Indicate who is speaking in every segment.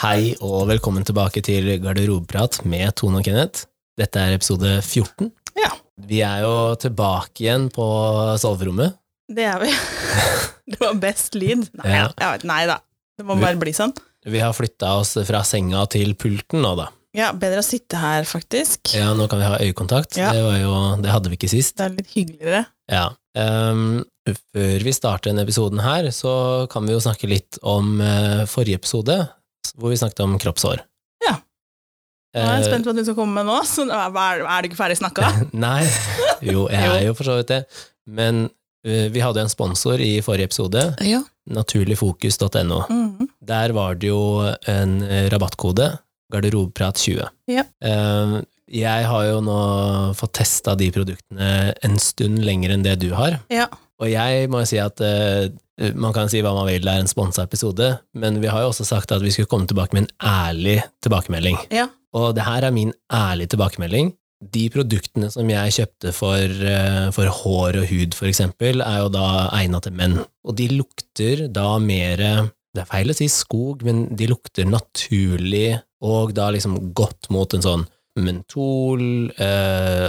Speaker 1: Hei og velkommen tilbake til Garderobeprat med Tone og Kenneth. Dette er episode 14.
Speaker 2: Ja.
Speaker 1: Vi er jo tilbake igjen på salverommet.
Speaker 2: Det er vi. Det var best lyd. Nei,
Speaker 1: Ja.
Speaker 2: jeg vet, nei da. Det må bare bli sånn.
Speaker 1: Vi har flytta oss fra senga til pulten nå, da.
Speaker 2: Ja, bedre å sitte her, faktisk.
Speaker 1: Ja, nå kan vi ha øyekontakt.
Speaker 2: Ja.
Speaker 1: Det, var jo, det hadde vi ikke sist.
Speaker 2: Det er litt hyggeligere.
Speaker 1: Ja. Ehm, før vi starter denne episoden her, så kan vi jo snakke litt om eh, forrige episode, hvor vi snakket om kroppshår.
Speaker 2: Ja. Nå er jeg
Speaker 1: Eh,
Speaker 2: spent på at du skal komme med nå. Så nå er, hva er er du ikke ferdig snakka?
Speaker 1: Nei, jo, jeg er jo for så vidt det. Men eh, vi hadde jo en sponsor i forrige episode,
Speaker 2: Ja.
Speaker 1: naturligfokus.no.
Speaker 2: Mhm.
Speaker 1: Der var det jo en eh, rabattkode, garderobeprat20.
Speaker 2: Ja.
Speaker 1: Eh, Jeg har jo nå fått testa de produktene en stund lenger enn det du har.
Speaker 2: ja.
Speaker 1: Og jeg må jo si at eh, man kan si hva man vil, det er en sponsa episode, men vi har jo også sagt at vi skulle komme tilbake med en ærlig tilbakemelding.
Speaker 2: Ja.
Speaker 1: Og det her er min ærlige tilbakemelding. De produktene som jeg kjøpte for, eh, for hår og hud, for eksempel, er jo da egna til menn. Og de lukter da mer Det er feil å si skog, men de lukter naturlig, og da liksom godt mot en sånn mentol, eh,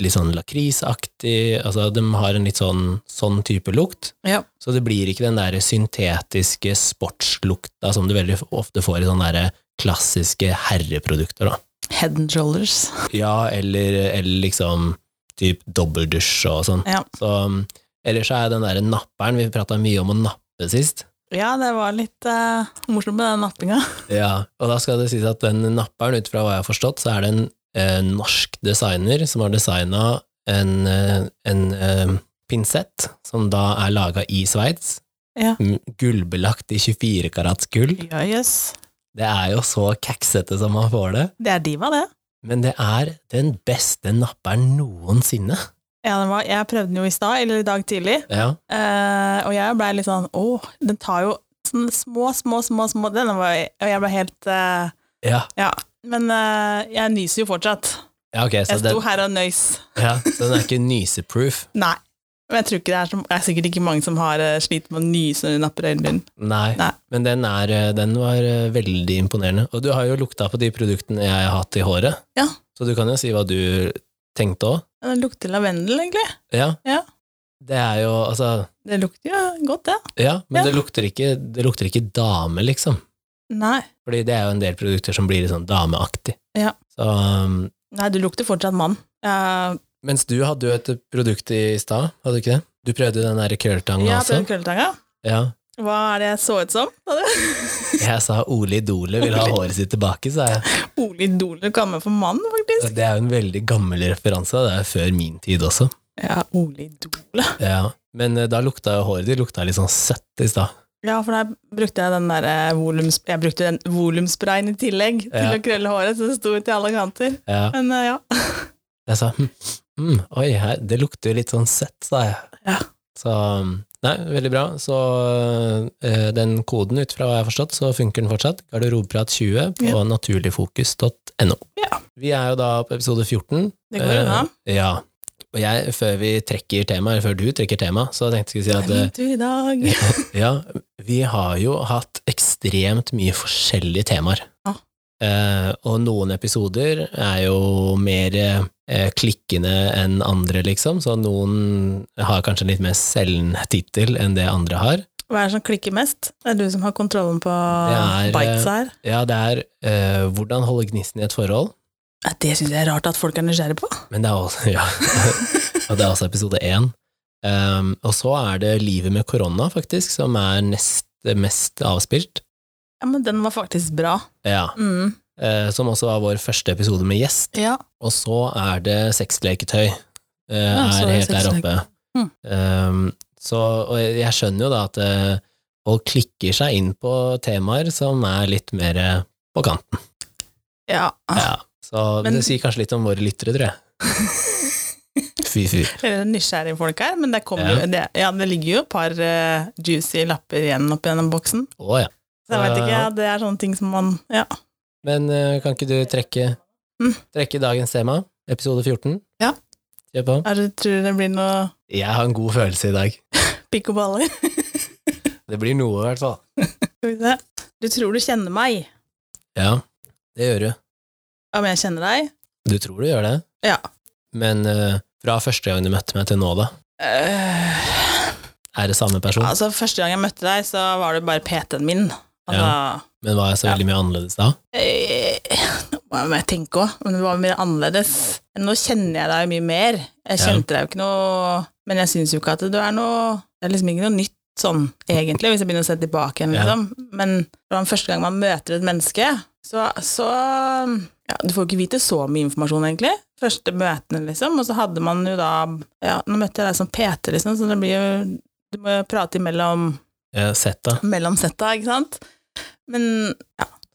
Speaker 1: litt sånn lakrisaktig Altså, de har en litt sånn, sånn type lukt.
Speaker 2: Ja.
Speaker 1: Så det blir ikke den der syntetiske sportslukta som du veldig ofte får i sånne der klassiske herreprodukter, da.
Speaker 2: Head and shoulders.
Speaker 1: Ja, eller, eller liksom typ dobbeldusj og sånn.
Speaker 2: Ja.
Speaker 1: Så um, ellers så er den der napperen, vi prata mye om å nappe sist.
Speaker 2: Ja, det var litt eh, morsomt med den nappinga.
Speaker 1: Ja, og da skal det sies at den napperen, ut fra hva jeg har forstått, så er det en eh, norsk designer som har designa en, eh, en eh, pinsett som da er laga i Sveits.
Speaker 2: Ja.
Speaker 1: M- Gullbelagt i 24 karats gull.
Speaker 2: Ja, jøss.
Speaker 1: Det er jo så kaksete som man får det,
Speaker 2: Det er diva, det.
Speaker 1: men det er den beste napperen noensinne.
Speaker 2: Ja, den var, jeg prøvde den jo i stad, eller i dag tidlig,
Speaker 1: Ja,
Speaker 2: eh, og jeg blei litt sånn Å, den tar jo sånne små, små, små, små Den var, Og jeg blei helt eh,
Speaker 1: ja.
Speaker 2: Ja, men eh, jeg nyser jo fortsatt.
Speaker 1: ja ok, så
Speaker 2: Jeg sto
Speaker 1: den,
Speaker 2: her og nøys.
Speaker 1: ja, så den er ikke nyseproof.
Speaker 2: Nei. Men jeg tror ikke det er, som, det er sikkert ikke mange som har eh, slitt med å nyse når de napper øyenbryn.
Speaker 1: Nei,
Speaker 2: Nei.
Speaker 1: men den, er, eh, den var eh, veldig imponerende. Og du har jo lukta på de produktene jeg har hatt i håret,
Speaker 2: Ja.
Speaker 1: så du kan jo si hva du tenkte òg.
Speaker 2: Men Det lukter lavendel, egentlig.
Speaker 1: Ja.
Speaker 2: Ja.
Speaker 1: Det er jo, altså,
Speaker 2: Det lukter jo godt, det.
Speaker 1: ja, men
Speaker 2: Ja.
Speaker 1: Det, lukter ikke, det lukter ikke dame, liksom.
Speaker 2: Nei.
Speaker 1: Fordi det er jo en del produkter som blir litt sånn dameaktig.
Speaker 2: Ja.
Speaker 1: Så, um,
Speaker 2: Nei, du lukter fortsatt mann. Eh,
Speaker 1: mens du hadde jo et produkt i stad, hadde du ikke det? Du prøvde den derre krølltanga
Speaker 2: ja,
Speaker 1: også?
Speaker 2: den krølletanga.
Speaker 1: Ja.
Speaker 2: Hva er det jeg så ut som? sa du?
Speaker 1: Jeg sa Ole Idole vil ha
Speaker 2: Ole-
Speaker 1: håret sitt tilbake, sa jeg.
Speaker 2: Ole Idol kaller meg for mann, faktisk.
Speaker 1: Det er jo en veldig gammel referanse, det er før min tid også.
Speaker 2: Ja, Ole Idol.
Speaker 1: Ja, men eh, da lukta jo håret ditt lukta litt sånn søtt i stad.
Speaker 2: Ja, for der brukte jeg den der eh, volums, Jeg brukte den volumsprayen i tillegg til
Speaker 1: Ja.
Speaker 2: å krølle håret, så det sto ut i alle kanter.
Speaker 1: Ja,
Speaker 2: Men eh, ja.
Speaker 1: jeg sa hm, hm, oi, her, det lukter jo litt sånn søtt, sa jeg.
Speaker 2: Ja.
Speaker 1: Så mm, nei, veldig bra. Så eh, den koden, ut fra hva jeg har forstått, så funker den fortsatt. Garderobeprat20 på
Speaker 2: Ja.
Speaker 1: naturligfokus.no.
Speaker 2: Ja.
Speaker 1: Vi er jo da på episode 14.
Speaker 2: Det går unna.
Speaker 1: Eh, ja. Og jeg, før vi trekker temaet, eller før du trekker temaet, så tenkte jeg å si at
Speaker 2: Det er
Speaker 1: eh,
Speaker 2: min tur i dag.
Speaker 1: Ja, vi har jo hatt ekstremt mye forskjellige temaer.
Speaker 2: Ja.
Speaker 1: Eh, og noen episoder er jo mer eh, klikkende enn andre, liksom, så noen har kanskje en litt mer selgende tittel enn det andre har.
Speaker 2: Hva er det som klikker mest? Det er du som har kontrollen på
Speaker 1: Det er,
Speaker 2: bites her.
Speaker 1: Ja, det er eh, 'Hvordan holde gnisten i et forhold',
Speaker 2: Ja, det syns jeg er rart at folk er nysgjerrige på.
Speaker 1: men det er også, ja, og det er også episode én. Um, og så er det 'Livet med korona', faktisk, som er nest mest avspilt.
Speaker 2: Ja, men den var faktisk bra.
Speaker 1: Ja,
Speaker 2: Mm.
Speaker 1: eh, Som også var vår første episode med gjest.
Speaker 2: Ja.
Speaker 1: Og så er det sexleketøy. eh, er
Speaker 2: så er det
Speaker 1: helt der
Speaker 2: sexleke-
Speaker 1: oppe.
Speaker 2: Mm.
Speaker 1: Um, så, og jeg jeg skjønner jo da at eh, folk klikker seg inn på temaer som er litt mer eh, på kanten.
Speaker 2: ja.
Speaker 1: Ja. Så
Speaker 2: Ah. Men-
Speaker 1: det sier kanskje litt om våre lyttere, tror jeg. Fy, fy.
Speaker 2: Eller nysgjerrige folk her, men det, kommer,
Speaker 1: Ja.
Speaker 2: jo- det, ja, det ligger jo et par eh, juicy lapper igjen oppi denne boksen.
Speaker 1: Å ja.
Speaker 2: Så jeg vet
Speaker 1: Ja,
Speaker 2: ikke,
Speaker 1: ja.
Speaker 2: ja, det er sånne ting som man Ja.
Speaker 1: Men eh, kan ikke du trekke,
Speaker 2: Mm.
Speaker 1: trekke dagens tema? Episode 14?
Speaker 2: Ja.
Speaker 1: Kjør på.
Speaker 2: Er det, tror du det blir noe
Speaker 1: Jeg har en god følelse i dag.
Speaker 2: pikk og baller?
Speaker 1: Det blir noe, i hvert fall.
Speaker 2: Skal vi se. Du tror du kjenner meg,
Speaker 1: Ja, det gjør du.
Speaker 2: Ja, men jeg kjenner deg.
Speaker 1: Du tror du gjør det?
Speaker 2: Ja.
Speaker 1: Men eh, fra første gang du møtte meg til nå, da,
Speaker 2: Eh,
Speaker 1: er det samme person?
Speaker 2: altså, første gang jeg møtte deg, så var du bare PT-en min. Altså,
Speaker 1: Men var jeg så
Speaker 2: Ja.
Speaker 1: veldig mye annerledes da?
Speaker 2: eh, Nå må jeg tenke òg, men det var mye annerledes. Nå kjenner jeg deg jo mye mer. Jeg
Speaker 1: Ja.
Speaker 2: kjente deg jo ikke noe Men jeg syns jo ikke at du er noe Det er liksom ikke noe nytt sånn, egentlig, hvis jeg begynner å se tilbake igjen,
Speaker 1: Ja.
Speaker 2: liksom. Men fra den første gang man møter et menneske, så, så ja, Du får jo ikke vite så mye informasjon, egentlig. Første møtene, liksom. Og så hadde man jo da Ja, nå møtte jeg deg som PT, liksom, så det blir jo Du må jo prate imellom
Speaker 1: Jeg har sett da.
Speaker 2: mellom setta, ikke sant? Men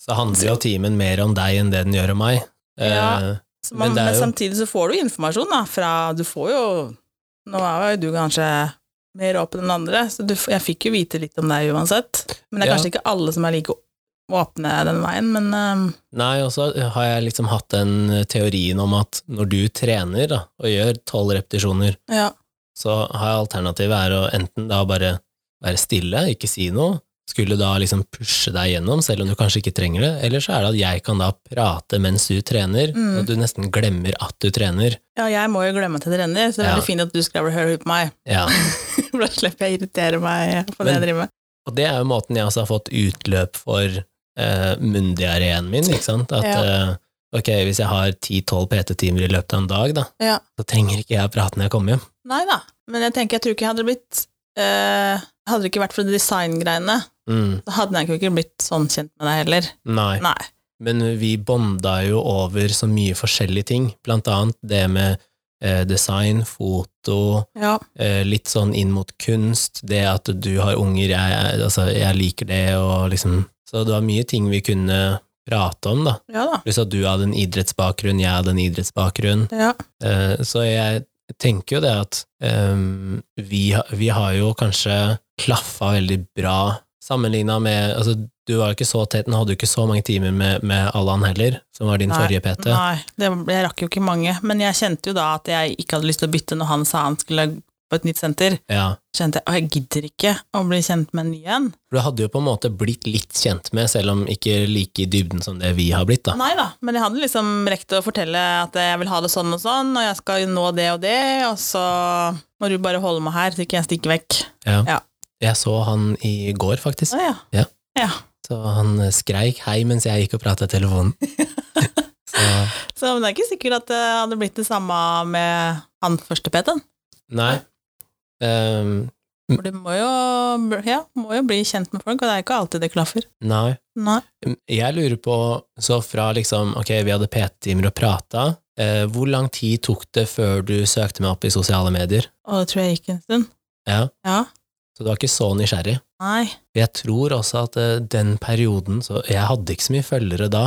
Speaker 1: Så handler jo timen mer om deg enn det den gjør om meg. Eh,
Speaker 2: Ja. Så man,
Speaker 1: Men
Speaker 2: men,
Speaker 1: det er jo-
Speaker 2: samtidig så får du informasjon da, fra Du får jo Nå er jo du kanskje mer åpen enn andre, så du, f- jeg fikk jo vite litt om deg uansett. Men det er
Speaker 1: Ja.
Speaker 2: kanskje ikke alle som er like åpne den veien, men ehm,
Speaker 1: Nei, og så har jeg liksom hatt den teorien om at når du trener da, og gjør tolv repetisjoner,
Speaker 2: ja.
Speaker 1: så har jeg alternativet er å enten da bare være stille, ikke si noe, skulle da liksom pushe deg gjennom, selv om du kanskje ikke trenger det, eller så er det at jeg kan da prate mens du trener,
Speaker 2: Mm.
Speaker 1: og at du nesten glemmer at du trener.
Speaker 2: ja, jeg må jo glemme at jeg trener, så det er
Speaker 1: Ja.
Speaker 2: veldig fint at du skrev hør på meg,
Speaker 1: Ja,
Speaker 2: for da slipper jeg å irritere meg på det
Speaker 1: Men-
Speaker 2: jeg driver med.
Speaker 1: og det er jo måten jeg også har fått utløp for eh, mundiareen min, ikke sant? At eh, ok, hvis jeg har 10-12 PT-timer i løpet av en dag da,
Speaker 2: Ja.
Speaker 1: så trenger ikke jeg prate når jeg kommer hjem.
Speaker 2: Nei da, men jeg tenker jeg tror ikke jeg hadde blitt eh, Hadde det ikke vært for designgreiene,
Speaker 1: Mm,
Speaker 2: så hadde jeg jo ikke blitt sånn kjent med deg heller.
Speaker 1: nei.
Speaker 2: Nei.
Speaker 1: Men vi bonda jo over så mye forskjellige ting, blant annet det med eh, design, foto,
Speaker 2: Ja.
Speaker 1: eh, litt sånn inn mot kunst, det at du har unger, jeg, jeg- altså, jeg liker det, og liksom Så det var mye ting vi kunne prate om, da.
Speaker 2: ja da.
Speaker 1: Pluss at du hadde en idrettsbakgrunn, jeg hadde en idrettsbakgrunn.
Speaker 2: Ja.
Speaker 1: Eh, så jeg tenker jo det at ehm, vi, ha- vi har jo kanskje klaffa veldig bra sammenligna med altså, Du var jo ikke så tett, nå hadde du ikke så mange timer med, med Allan heller, som var din
Speaker 2: Nei,
Speaker 1: forrige PT.
Speaker 2: Nei, det, jeg rakk jo ikke mange, men jeg kjente jo da at jeg ikke hadde lyst til å bytte når han sa han skulle på et nytt senter.
Speaker 1: Ja.
Speaker 2: Kjente jeg, å, jeg gidder ikke å bli kjent med en ny en.
Speaker 1: For du hadde jo på en måte blitt litt kjent med, selv om ikke like i dybden som det vi har blitt, da.
Speaker 2: Nei da, men jeg hadde liksom rekt å fortelle at jeg vil ha det sånn og sånn, og jeg skal nå det og det, og så må du bare holde meg her, så ikke jeg stikker vekk.
Speaker 1: Jeg så han i går, faktisk.
Speaker 2: Å ja.
Speaker 1: Så han eh, skreik hei mens jeg gikk og prata i telefonen. så
Speaker 2: Så men det er ikke sikkert at det hadde blitt det samme med han første PT-en.
Speaker 1: nei. Ehm,
Speaker 2: For du må jo, ja, må jo bli kjent med folk, og det er ikke alltid det klaffer.
Speaker 1: nei.
Speaker 2: Nei.
Speaker 1: Jeg lurer på, så fra liksom, ok, vi hadde PT-timer og prata, eh, hvor lang tid tok det før du søkte meg opp i sosiale medier?
Speaker 2: Og det tror jeg gikk en stund.
Speaker 1: Ja,
Speaker 2: Ja.
Speaker 1: Så du var ikke så nysgjerrig?
Speaker 2: Nei.
Speaker 1: Jeg tror også at eh, den perioden, så jeg hadde ikke så mye følgere da,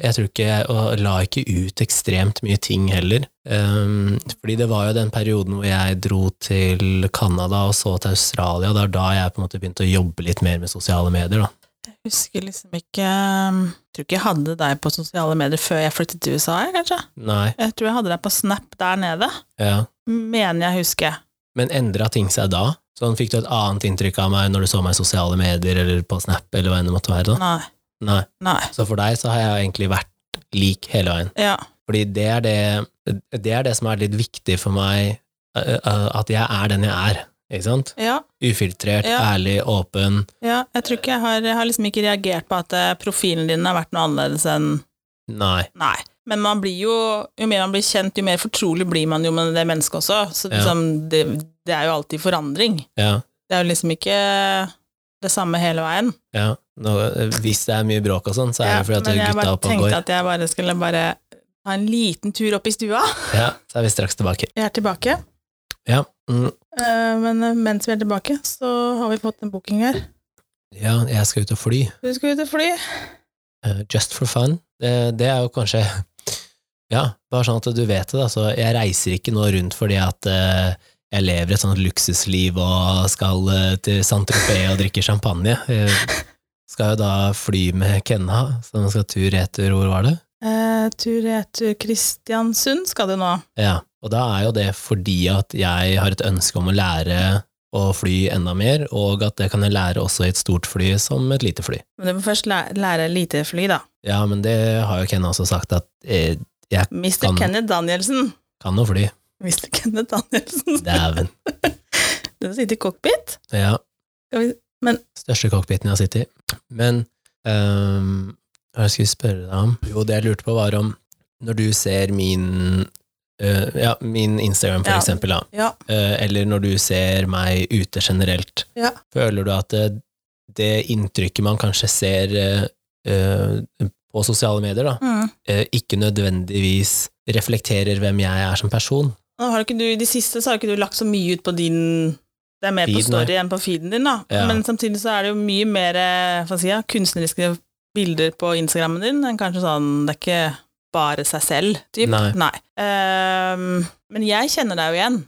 Speaker 1: jeg tror ikke, jeg- og la ikke ut ekstremt mye ting heller, um, fordi det var jo den perioden hvor jeg dro til Kanada og så til Australia, det er da jeg på en måte begynte å jobbe litt mer med sosiale medier da.
Speaker 2: husker liksom ikke Jeg tror ikke jeg hadde deg på sosiale medier før jeg flyttet til USA, jeg, kanskje.
Speaker 1: Nei,
Speaker 2: Jeg tror jeg hadde deg på Snap der nede,
Speaker 1: ja.
Speaker 2: mener jeg husker.
Speaker 1: Men endra ting seg da? Sånn fikk du et annet inntrykk av meg når du så meg i sosiale medier eller på Snap eller hva enn det måtte være? da?
Speaker 2: Nei.
Speaker 1: Nei.
Speaker 2: Nei.
Speaker 1: Så for deg så har jeg egentlig vært lik hele veien.
Speaker 2: Ja.
Speaker 1: Fordi det er det, det er det som er litt viktig for meg, ø- ø, at jeg er den jeg er. Ikke sant?
Speaker 2: ja.
Speaker 1: Ufiltrert,
Speaker 2: Ja.
Speaker 1: ærlig, åpen.
Speaker 2: Ja, jeg tror ikke jeg har, jeg har liksom ikke reagert på at eh, profilen din har vært noe annerledes enn
Speaker 1: Nei.
Speaker 2: Nei. Men man blir jo Jo mer man blir kjent, jo mer fortrolig blir man jo med det mennesket også. Så
Speaker 1: Ja.
Speaker 2: liksom, det, det er jo alltid forandring.
Speaker 1: Ja.
Speaker 2: Det er jo liksom ikke det samme hele veien.
Speaker 1: ja. Nå, ø, hvis det er mye bråk og sånn, så er det fordi at
Speaker 2: men jeg
Speaker 1: gutta
Speaker 2: bare
Speaker 1: opp og
Speaker 2: tenkte
Speaker 1: går.
Speaker 2: at jeg bare skulle bare ta en liten tur opp i stua.
Speaker 1: Ja, så er vi straks tilbake.
Speaker 2: Jeg er tilbake.
Speaker 1: Ja. Mm.
Speaker 2: Eh, Men eh, mens vi er tilbake, så har vi fått en booking her.
Speaker 1: ja, jeg skal ut og fly.
Speaker 2: Du skal ut og fly.
Speaker 1: Eh, Just for fun. Det, det er jo kanskje Ja, bare sånn at du vet det, da. Så jeg reiser ikke nå rundt fordi at eh, jeg lever et sånt luksusliv og skal eh, til Saint-Tropez og drikke champagne. Jeg skal jo da fly med Kenna, som skal tur-retur, hvor var det?
Speaker 2: Eh, tur retur Kristiansund skal du nå.
Speaker 1: Ja. Og da er jo det fordi at jeg har et ønske om å lære og fly enda mer, og at det kan jeg lære også i et stort fly som et lite fly.
Speaker 2: Men du må først læ- lære lite fly, da.
Speaker 1: Ja, men det har jo Ken også sagt, at jeg
Speaker 2: Mr.
Speaker 1: Kan-
Speaker 2: Kenneth Danielsen.
Speaker 1: kan jo fly.
Speaker 2: Mr. Kenneth Danielsen.
Speaker 1: Dæven.
Speaker 2: Du sitter i cockpit.
Speaker 1: Ja.
Speaker 2: Skal vi- men-
Speaker 1: Største cockpiten jeg har sittet i. Men ehm, hva skal jeg spørre deg om? Jo, det jeg lurte på, var om når du ser min eh, ja, min Instagram, for
Speaker 2: Ja.
Speaker 1: eksempel, da,
Speaker 2: Ja.
Speaker 1: eh, eller når du ser meg ute generelt,
Speaker 2: Ja.
Speaker 1: føler du at det, det inntrykket man kanskje ser eh, eh, på sosiale medier, da,
Speaker 2: Mm.
Speaker 1: eh, ikke nødvendigvis reflekterer hvem jeg er som person?
Speaker 2: Nå har ikke du, I de siste så har ikke du lagt så mye ut på din Det er mer på
Speaker 1: Feed, nei.
Speaker 2: story enn på feeden din, da.
Speaker 1: Ja.
Speaker 2: Men samtidig så er det jo mye mer eh, hva skal jeg si, ja, kunstneriske bilder på Instagrammen din enn kanskje sånn Det er ikke bare seg selv, typ.
Speaker 1: Nei.
Speaker 2: Ehm, men jeg kjenner deg jo igjen.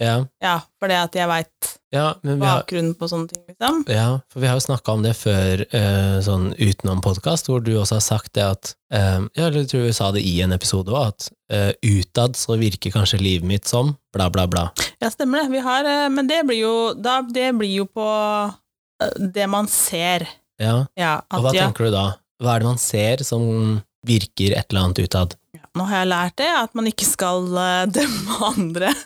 Speaker 1: Ja,
Speaker 2: Ja, fordi at jeg veit
Speaker 1: ja men vi har,
Speaker 2: bakgrunnen på sånne ting, liksom.
Speaker 1: Ja, for vi har jo snakka om det før, eh, sånn utenom podkast, hvor du også har sagt det at eh, ja, eller Jeg tror vi sa det i en episode òg, at eh, utad så virker kanskje livet mitt som bla, bla, bla.
Speaker 2: Ja, stemmer det. Vi har eh, Men det blir jo da, Det blir jo på eh, det man ser.
Speaker 1: Ja,
Speaker 2: Ja,
Speaker 1: Og hva
Speaker 2: at ja,
Speaker 1: tenker du da? Hva er det man ser som virker et eller annet utad?
Speaker 2: Nå har jeg lært det, at man ikke skal eh, dømme andre.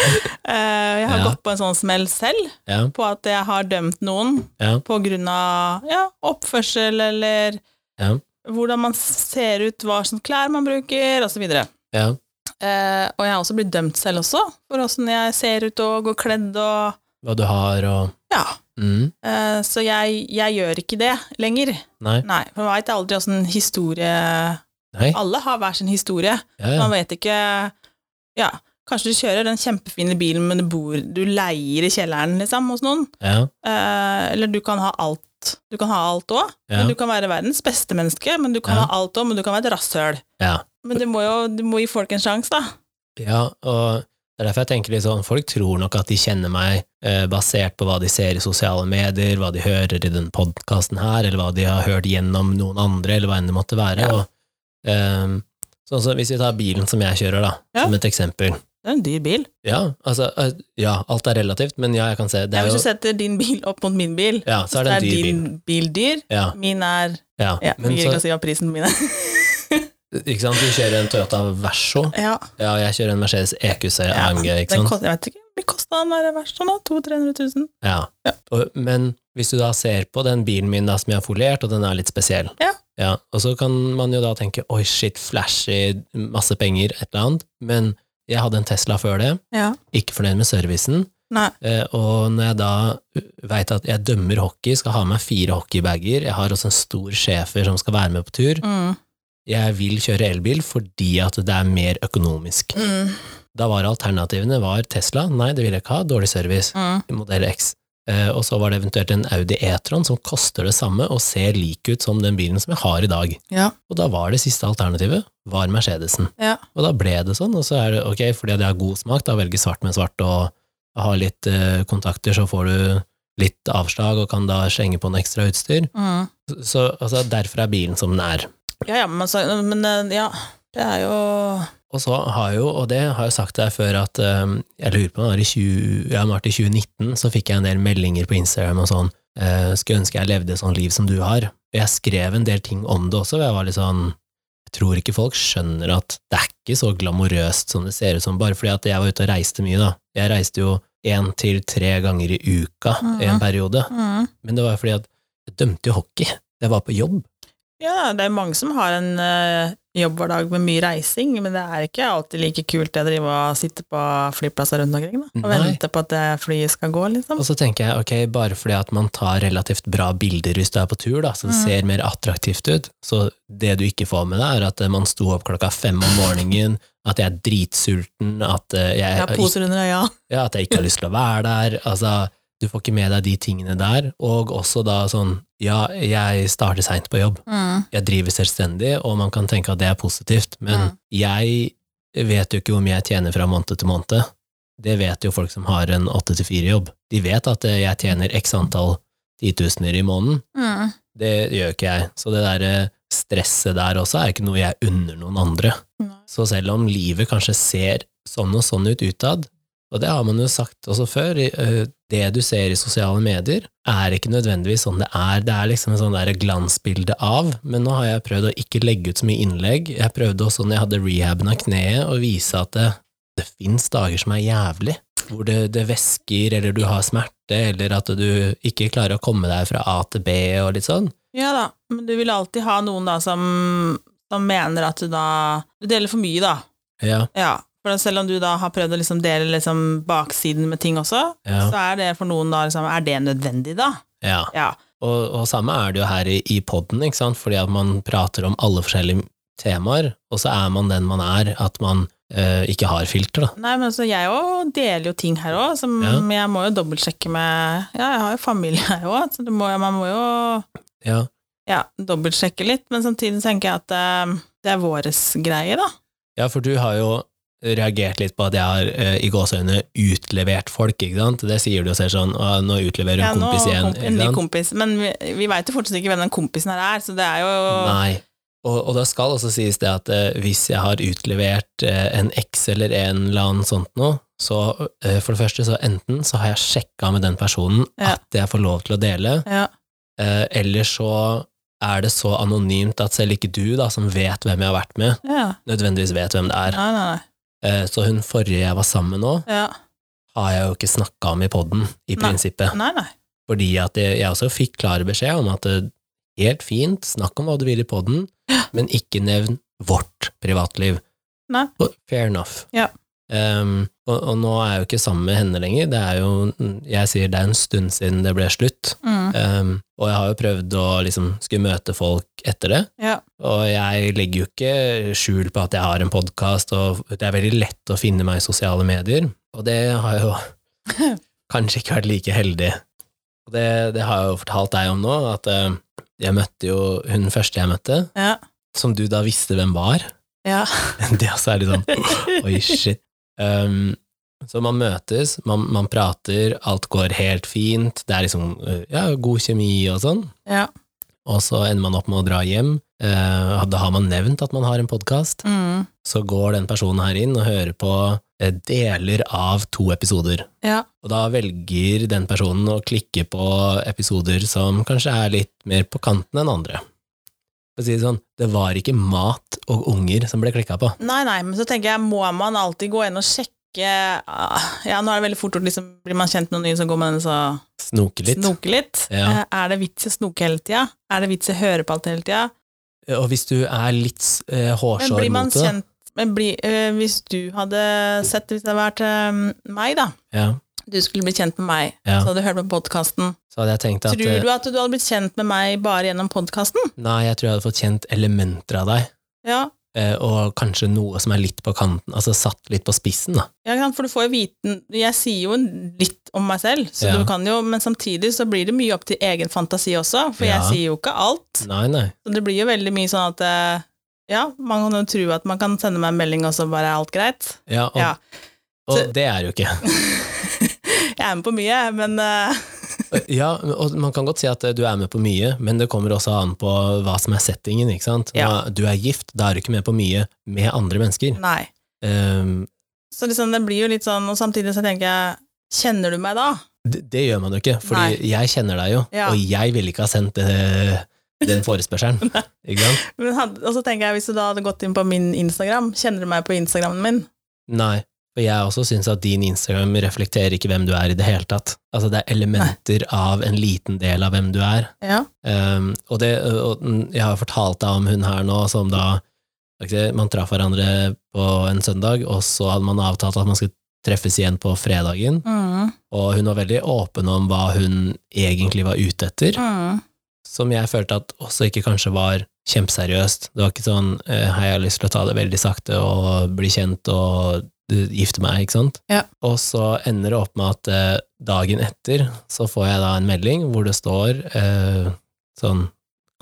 Speaker 2: Eh, jeg har
Speaker 1: Ja.
Speaker 2: gått på en sånn smell selv,
Speaker 1: Ja,
Speaker 2: på at jeg har dømt noen
Speaker 1: Ja.
Speaker 2: på grunn av ja, oppførsel eller
Speaker 1: Ja.
Speaker 2: hvordan man ser ut, hva slags klær man bruker, osv.
Speaker 1: ja,
Speaker 2: Uh, og jeg har også blitt dømt selv også, for åssen jeg ser ut og går kledd og
Speaker 1: hva du har og
Speaker 2: Ja.
Speaker 1: mm,
Speaker 2: Eh, så jeg, jeg gjør ikke det lenger.
Speaker 1: Nei.
Speaker 2: Nei, for man veit aldri åssen historie
Speaker 1: Nei.
Speaker 2: Alle har hver sin historie.
Speaker 1: Ja, ja.
Speaker 2: Man vet ikke Ja, kanskje du kjører den kjempefine bilen, men du bor Du leier i kjelleren, liksom, hos noen.
Speaker 1: ja,
Speaker 2: Eh, eller du kan ha alt. Du kan ha alt òg.
Speaker 1: ja,
Speaker 2: Du kan være verdens beste menneske, men du kan
Speaker 1: Ja.
Speaker 2: ha alt òg, men du kan være et rasshøl.
Speaker 1: ja.
Speaker 2: Men du må jo du må gi folk en sjanse, da.
Speaker 1: Ja, og det er derfor jeg tenker litt sånn, folk tror nok at de kjenner meg eh, basert på hva de ser i sosiale medier, hva de hører i den podkasten her, eller hva de har hørt gjennom noen andre, eller hva enn det måtte være.
Speaker 2: Ja.
Speaker 1: Og, ehm, sånn som hvis vi tar bilen som jeg kjører, da,
Speaker 2: Ja.
Speaker 1: som et eksempel.
Speaker 2: Det er en dyr bil.
Speaker 1: Ja, altså, eh, ja, alt er relativt, men ja, jeg kan se, det
Speaker 2: Ja,
Speaker 1: er
Speaker 2: hvis
Speaker 1: jo,
Speaker 2: du setter din bil opp mot min bil,
Speaker 1: ja, så er det en dyr bil.
Speaker 2: din bil dyr.
Speaker 1: Ja,
Speaker 2: Min er
Speaker 1: ja.
Speaker 2: Ja, jeg
Speaker 1: Men
Speaker 2: gidder
Speaker 1: så,
Speaker 2: ikke å si hva prisen min er.
Speaker 1: ikke sant, du kjører en Toyota Verso,
Speaker 2: ja,
Speaker 1: ja, jeg kjører en Mercedes EQC
Speaker 2: Ja,
Speaker 1: AMG, ikke
Speaker 2: den
Speaker 1: sant?
Speaker 2: kost, jeg vet ikke, hvor mye kosta den der verst sånn, da? 200 000-300 000?
Speaker 1: Ja.
Speaker 2: Ja.
Speaker 1: Og, men hvis du da ser på den bilen min da, som jeg har foliert, og den er litt spesiell,
Speaker 2: Ja.
Speaker 1: og så kan man jo da tenke oi shit, flashy, masse penger, et eller annet, men jeg hadde en Tesla før det,
Speaker 2: Ja.
Speaker 1: ikke fornøyd med servicen,
Speaker 2: Nei.
Speaker 1: eh, og når jeg da veit at jeg dømmer hockey, skal ha med meg fire hockeybager, jeg har også en stor schæfer som skal være med på tur,
Speaker 2: Mm.
Speaker 1: jeg vil kjøre elbil fordi at det er mer økonomisk.
Speaker 2: Mm.
Speaker 1: Da var alternativene var Tesla, nei det vil jeg ikke ha, dårlig service
Speaker 2: Mm.
Speaker 1: modell X. Eh, og så var det eventuelt en Audi E-tron som koster det samme og ser lik ut som den bilen som jeg har i dag.
Speaker 2: Ja.
Speaker 1: Og da var det siste alternativet var Mercedesen.
Speaker 2: Ja.
Speaker 1: Og da ble det sånn, og så er det ok, fordi det har god smak, da velger svart med svart og har litt eh, kontakter, så får du litt avslag og kan da slenge på noe ekstra utstyr.
Speaker 2: Mm.
Speaker 1: Så altså, derfor er bilen som den er.
Speaker 2: Ja, ja, men, altså, men eh, ja, det er jo
Speaker 1: Og så har jo, og det har jeg sagt deg før, at eh, jeg lurer på, det var i 20, ja, det var i 2019 så fikk jeg en del meldinger på Instagram og sånn, eh, skulle ønske jeg levde et sånt liv som du har. Og jeg skrev en del ting om det også, og jeg var litt sånn, jeg tror ikke folk skjønner at det er ikke så glamorøst som det ser ut som, bare fordi at jeg var ute og reiste mye da. Jeg reiste jo en til tre ganger i uka i en
Speaker 2: Mhm.
Speaker 1: periode,
Speaker 2: mm.
Speaker 1: men det var jo fordi at jeg dømte jo hockey. Jeg var på jobb.
Speaker 2: Ja, det er mange som har en eh, jobbhverdag med mye reising, men det er ikke alltid like kult det å drive og sitte på flyplasser rundt omkring da, og
Speaker 1: Nei. Altså,
Speaker 2: vente på at det flyet skal gå, liksom.
Speaker 1: Og så tenker jeg, ok, bare fordi at man tar relativt bra bilder hvis du er på tur, da, så det
Speaker 2: Mm.
Speaker 1: ser mer attraktivt ut, så det du ikke får med deg, er at eh, man sto opp klokka fem om morgenen, at jeg er dritsulten, at eh, jeg,
Speaker 2: Jeg har poser under øya.
Speaker 1: ja, at jeg ikke har lyst til å være der, altså, du får ikke med deg de tingene der, og også da sånn, ja, jeg starter sent på jobb,
Speaker 2: Mm.
Speaker 1: jeg driver selvstendig, og man kan tenke at det er positivt, men
Speaker 2: Mm.
Speaker 1: jeg vet jo ikke hvor mye jeg tjener fra måned til måned. Det vet jo folk som har en 8-4-jobb. De vet at eh, jeg tjener x antall titusener i måneden.
Speaker 2: Mm.
Speaker 1: Det gjør ikke jeg. Så det der eh, stresset der også er ikke noe jeg unner noen andre.
Speaker 2: Nei.
Speaker 1: Så selv om livet kanskje ser sånn og sånn ut utad, Og det har man jo sagt også før, i, eh, det du ser i sosiale medier, er ikke nødvendigvis sånn det er. Det er liksom en sånn der glansbilde av, men nå har jeg prøvd å ikke legge ut så mye innlegg. Jeg prøvde også når jeg hadde rehaben av kneet, å vise at det, det fins dager som er jævlig. Hvor det, det væsker, eller du har smerte, eller at du ikke klarer å komme deg fra A til B og litt sånn.
Speaker 2: Ja da, men du vil alltid ha noen da som, som mener at du da Du deler for mye, da.
Speaker 1: Ja,
Speaker 2: Ja. For selv om du da har prøvd å liksom dele liksom baksiden med ting også,
Speaker 1: ja,
Speaker 2: så er det for noen da liksom Er det nødvendig, da?
Speaker 1: ja.
Speaker 2: Ja.
Speaker 1: Og, og samme er det jo her i, i podden, ikke sant? fordi at man prater om alle forskjellige temaer, og så er man den man er, at man eh, ikke har filter, da.
Speaker 2: Nei, men så jeg òg deler jo ting her òg, som
Speaker 1: Ja.
Speaker 2: jeg må jo dobbeltsjekke med Ja, jeg har jo familie her òg, så det må, man må jo
Speaker 1: Ja,
Speaker 2: ja, dobbeltsjekke litt, men samtidig tenker jeg at eh, det er våres greie, da.
Speaker 1: ja for du har jo reagert litt på at jeg har eh, i gåseøyne utlevert folk, ikke sant? Det sier du og ser sånn, «Å, nå utleverer
Speaker 2: Ja,
Speaker 1: en
Speaker 2: nå
Speaker 1: kompis igjen,
Speaker 2: kom- en ny
Speaker 1: ikke sant?
Speaker 2: kompis. Men vi, vi veit jo fortsatt ikke hvem den kompisen her er, så det er jo
Speaker 1: Nei. Og, og da skal også sies det at eh, hvis jeg har utlevert eh, en X eller en eller annen sånt noe, så eh, for det første så enten så har jeg sjekka med den personen
Speaker 2: Ja.
Speaker 1: at jeg får lov til å dele,
Speaker 2: ja,
Speaker 1: Eh, eller så er det så anonymt at selv ikke du, da, som vet hvem jeg har vært med,
Speaker 2: ja.
Speaker 1: nødvendigvis vet hvem det er.
Speaker 2: Nei, nei, nei.
Speaker 1: Eh, så hun forrige jeg var sammen med nå,
Speaker 2: Ja.
Speaker 1: har jeg jo ikke snakka om i poden, i
Speaker 2: Nei.
Speaker 1: prinsippet.
Speaker 2: Nei, nei.
Speaker 1: Fordi at jeg, jeg også fikk klar beskjed om at eh, helt fint, snakk om hva du vil i poden, men ikke nevn vårt privatliv.
Speaker 2: Nei.
Speaker 1: Og Fair enough.
Speaker 2: Ja.
Speaker 1: Ehm, og, og nå er jeg jo ikke sammen med henne lenger, det er jo, jeg sier det er en stund siden det ble slutt,
Speaker 2: Mm.
Speaker 1: Um, og jeg har jo prøvd å liksom skulle møte folk etter det,
Speaker 2: Ja.
Speaker 1: og jeg legger jo ikke skjul på at jeg har en podkast, og det er veldig lett å finne meg i sosiale medier, og det har jeg jo kanskje ikke vært like heldig. Og det, det har jeg jo fortalt deg om nå, at eh, jeg møtte jo hun første jeg møtte,
Speaker 2: Ja.
Speaker 1: som du da visste hvem var.
Speaker 2: Ja.
Speaker 1: Det også er litt sånn Oi, shit. Um, så man møtes, man, man prater, alt går helt fint, det er liksom uh, ja, god kjemi og sånn,
Speaker 2: ja.
Speaker 1: og så ender man opp med å dra hjem. Eh, da har man nevnt at man har en podkast,
Speaker 2: Mm.
Speaker 1: så går den personen her inn og hører på eh, deler av to episoder.
Speaker 2: Ja.
Speaker 1: Og da velger den personen å klikke på episoder som kanskje er litt mer på kanten enn andre. For å si det sånn, det var ikke mat og unger som ble klikka på.
Speaker 2: Nei, nei, men så tenker jeg, må man alltid gå inn og sjekke ah, Ja, nå er det veldig fort gjort, liksom, blir man kjent med noen nye, så går man inn og så
Speaker 1: Snoke litt.
Speaker 2: snoker litt.
Speaker 1: Ja.
Speaker 2: Eh, Er det vits i å snoke hele tida? Er det vits i å høre på alt hele tida?
Speaker 1: Eh, Og hvis du er litt eh,
Speaker 2: Men
Speaker 1: hårsår
Speaker 2: blir man
Speaker 1: mot det,
Speaker 2: kjent men blir- eh, Hvis du hadde sett det, hvis det hadde vært eh, meg, da
Speaker 1: ja,
Speaker 2: Du skulle bli kjent med meg,
Speaker 1: Ja.
Speaker 2: så hadde du hørt på podkasten.
Speaker 1: så hadde jeg tenkt at
Speaker 2: Tror
Speaker 1: eh,
Speaker 2: du at du hadde blitt kjent med meg bare gjennom podkasten?
Speaker 1: nei, jeg tror jeg hadde fått kjent elementer av deg.
Speaker 2: Ja.
Speaker 1: eh, og kanskje noe som er litt på kanten, altså satt litt på spissen, da.
Speaker 2: Ja, ikke sant? for du får jo viten Jeg sier jo litt om meg selv, så
Speaker 1: Ja.
Speaker 2: du kan jo, men samtidig så blir det mye opp til egen fantasi også, for
Speaker 1: Ja.
Speaker 2: jeg sier jo ikke alt.
Speaker 1: Nei, nei.
Speaker 2: Så det blir jo veldig mye sånn at eh, ja, man kan jo tro at man kan sende meg en melding, og så bare er alt greit.
Speaker 1: Ja, og,
Speaker 2: Ja. Så-
Speaker 1: og det er jo ikke.
Speaker 2: Jeg er med på mye, men eh,
Speaker 1: Ja, og man kan godt si at eh, du er med på mye, men det kommer også an på hva som er settingen, ikke sant?
Speaker 2: Ja.
Speaker 1: Nå- Du er gift, da er du ikke med på mye med andre mennesker.
Speaker 2: nei.
Speaker 1: Ehm,
Speaker 2: Så liksom, det blir jo litt sånn, og samtidig så tenker jeg Kjenner du meg da?
Speaker 1: det, det gjør man jo ikke, fordi
Speaker 2: Nei.
Speaker 1: jeg kjenner deg jo,
Speaker 2: Ja.
Speaker 1: og jeg ville ikke ha sendt eh, den forespørselen, ikke sant?
Speaker 2: Men had- og så tenker jeg, hvis du da hadde gått inn på min Instagram, kjenner du meg på Instagramen min?
Speaker 1: Nei, for jeg også syns at din Instagram reflekterer ikke hvem du er i det hele tatt. Altså, det er elementer av en liten del av hvem du er.
Speaker 2: Ja.
Speaker 1: Um, og det, og den- jeg har fortalt deg om hun her nå, som da hva skal jeg si, Man traff hverandre på en søndag, og så hadde man avtalt at man skulle treffes igjen på fredagen.
Speaker 2: Mm.
Speaker 1: Og hun var veldig åpen om hva hun egentlig var ute etter
Speaker 2: Mm.
Speaker 1: som jeg følte at også ikke kanskje var kjempeseriøst. Det var ikke sånn eh, 'hei, jeg har lyst til å ta det veldig sakte og bli kjent og eh, gifte meg', ikke sant?
Speaker 2: Ja.
Speaker 1: Og så ender det opp med at eh, dagen etter så får jeg da en melding hvor det står eh, sånn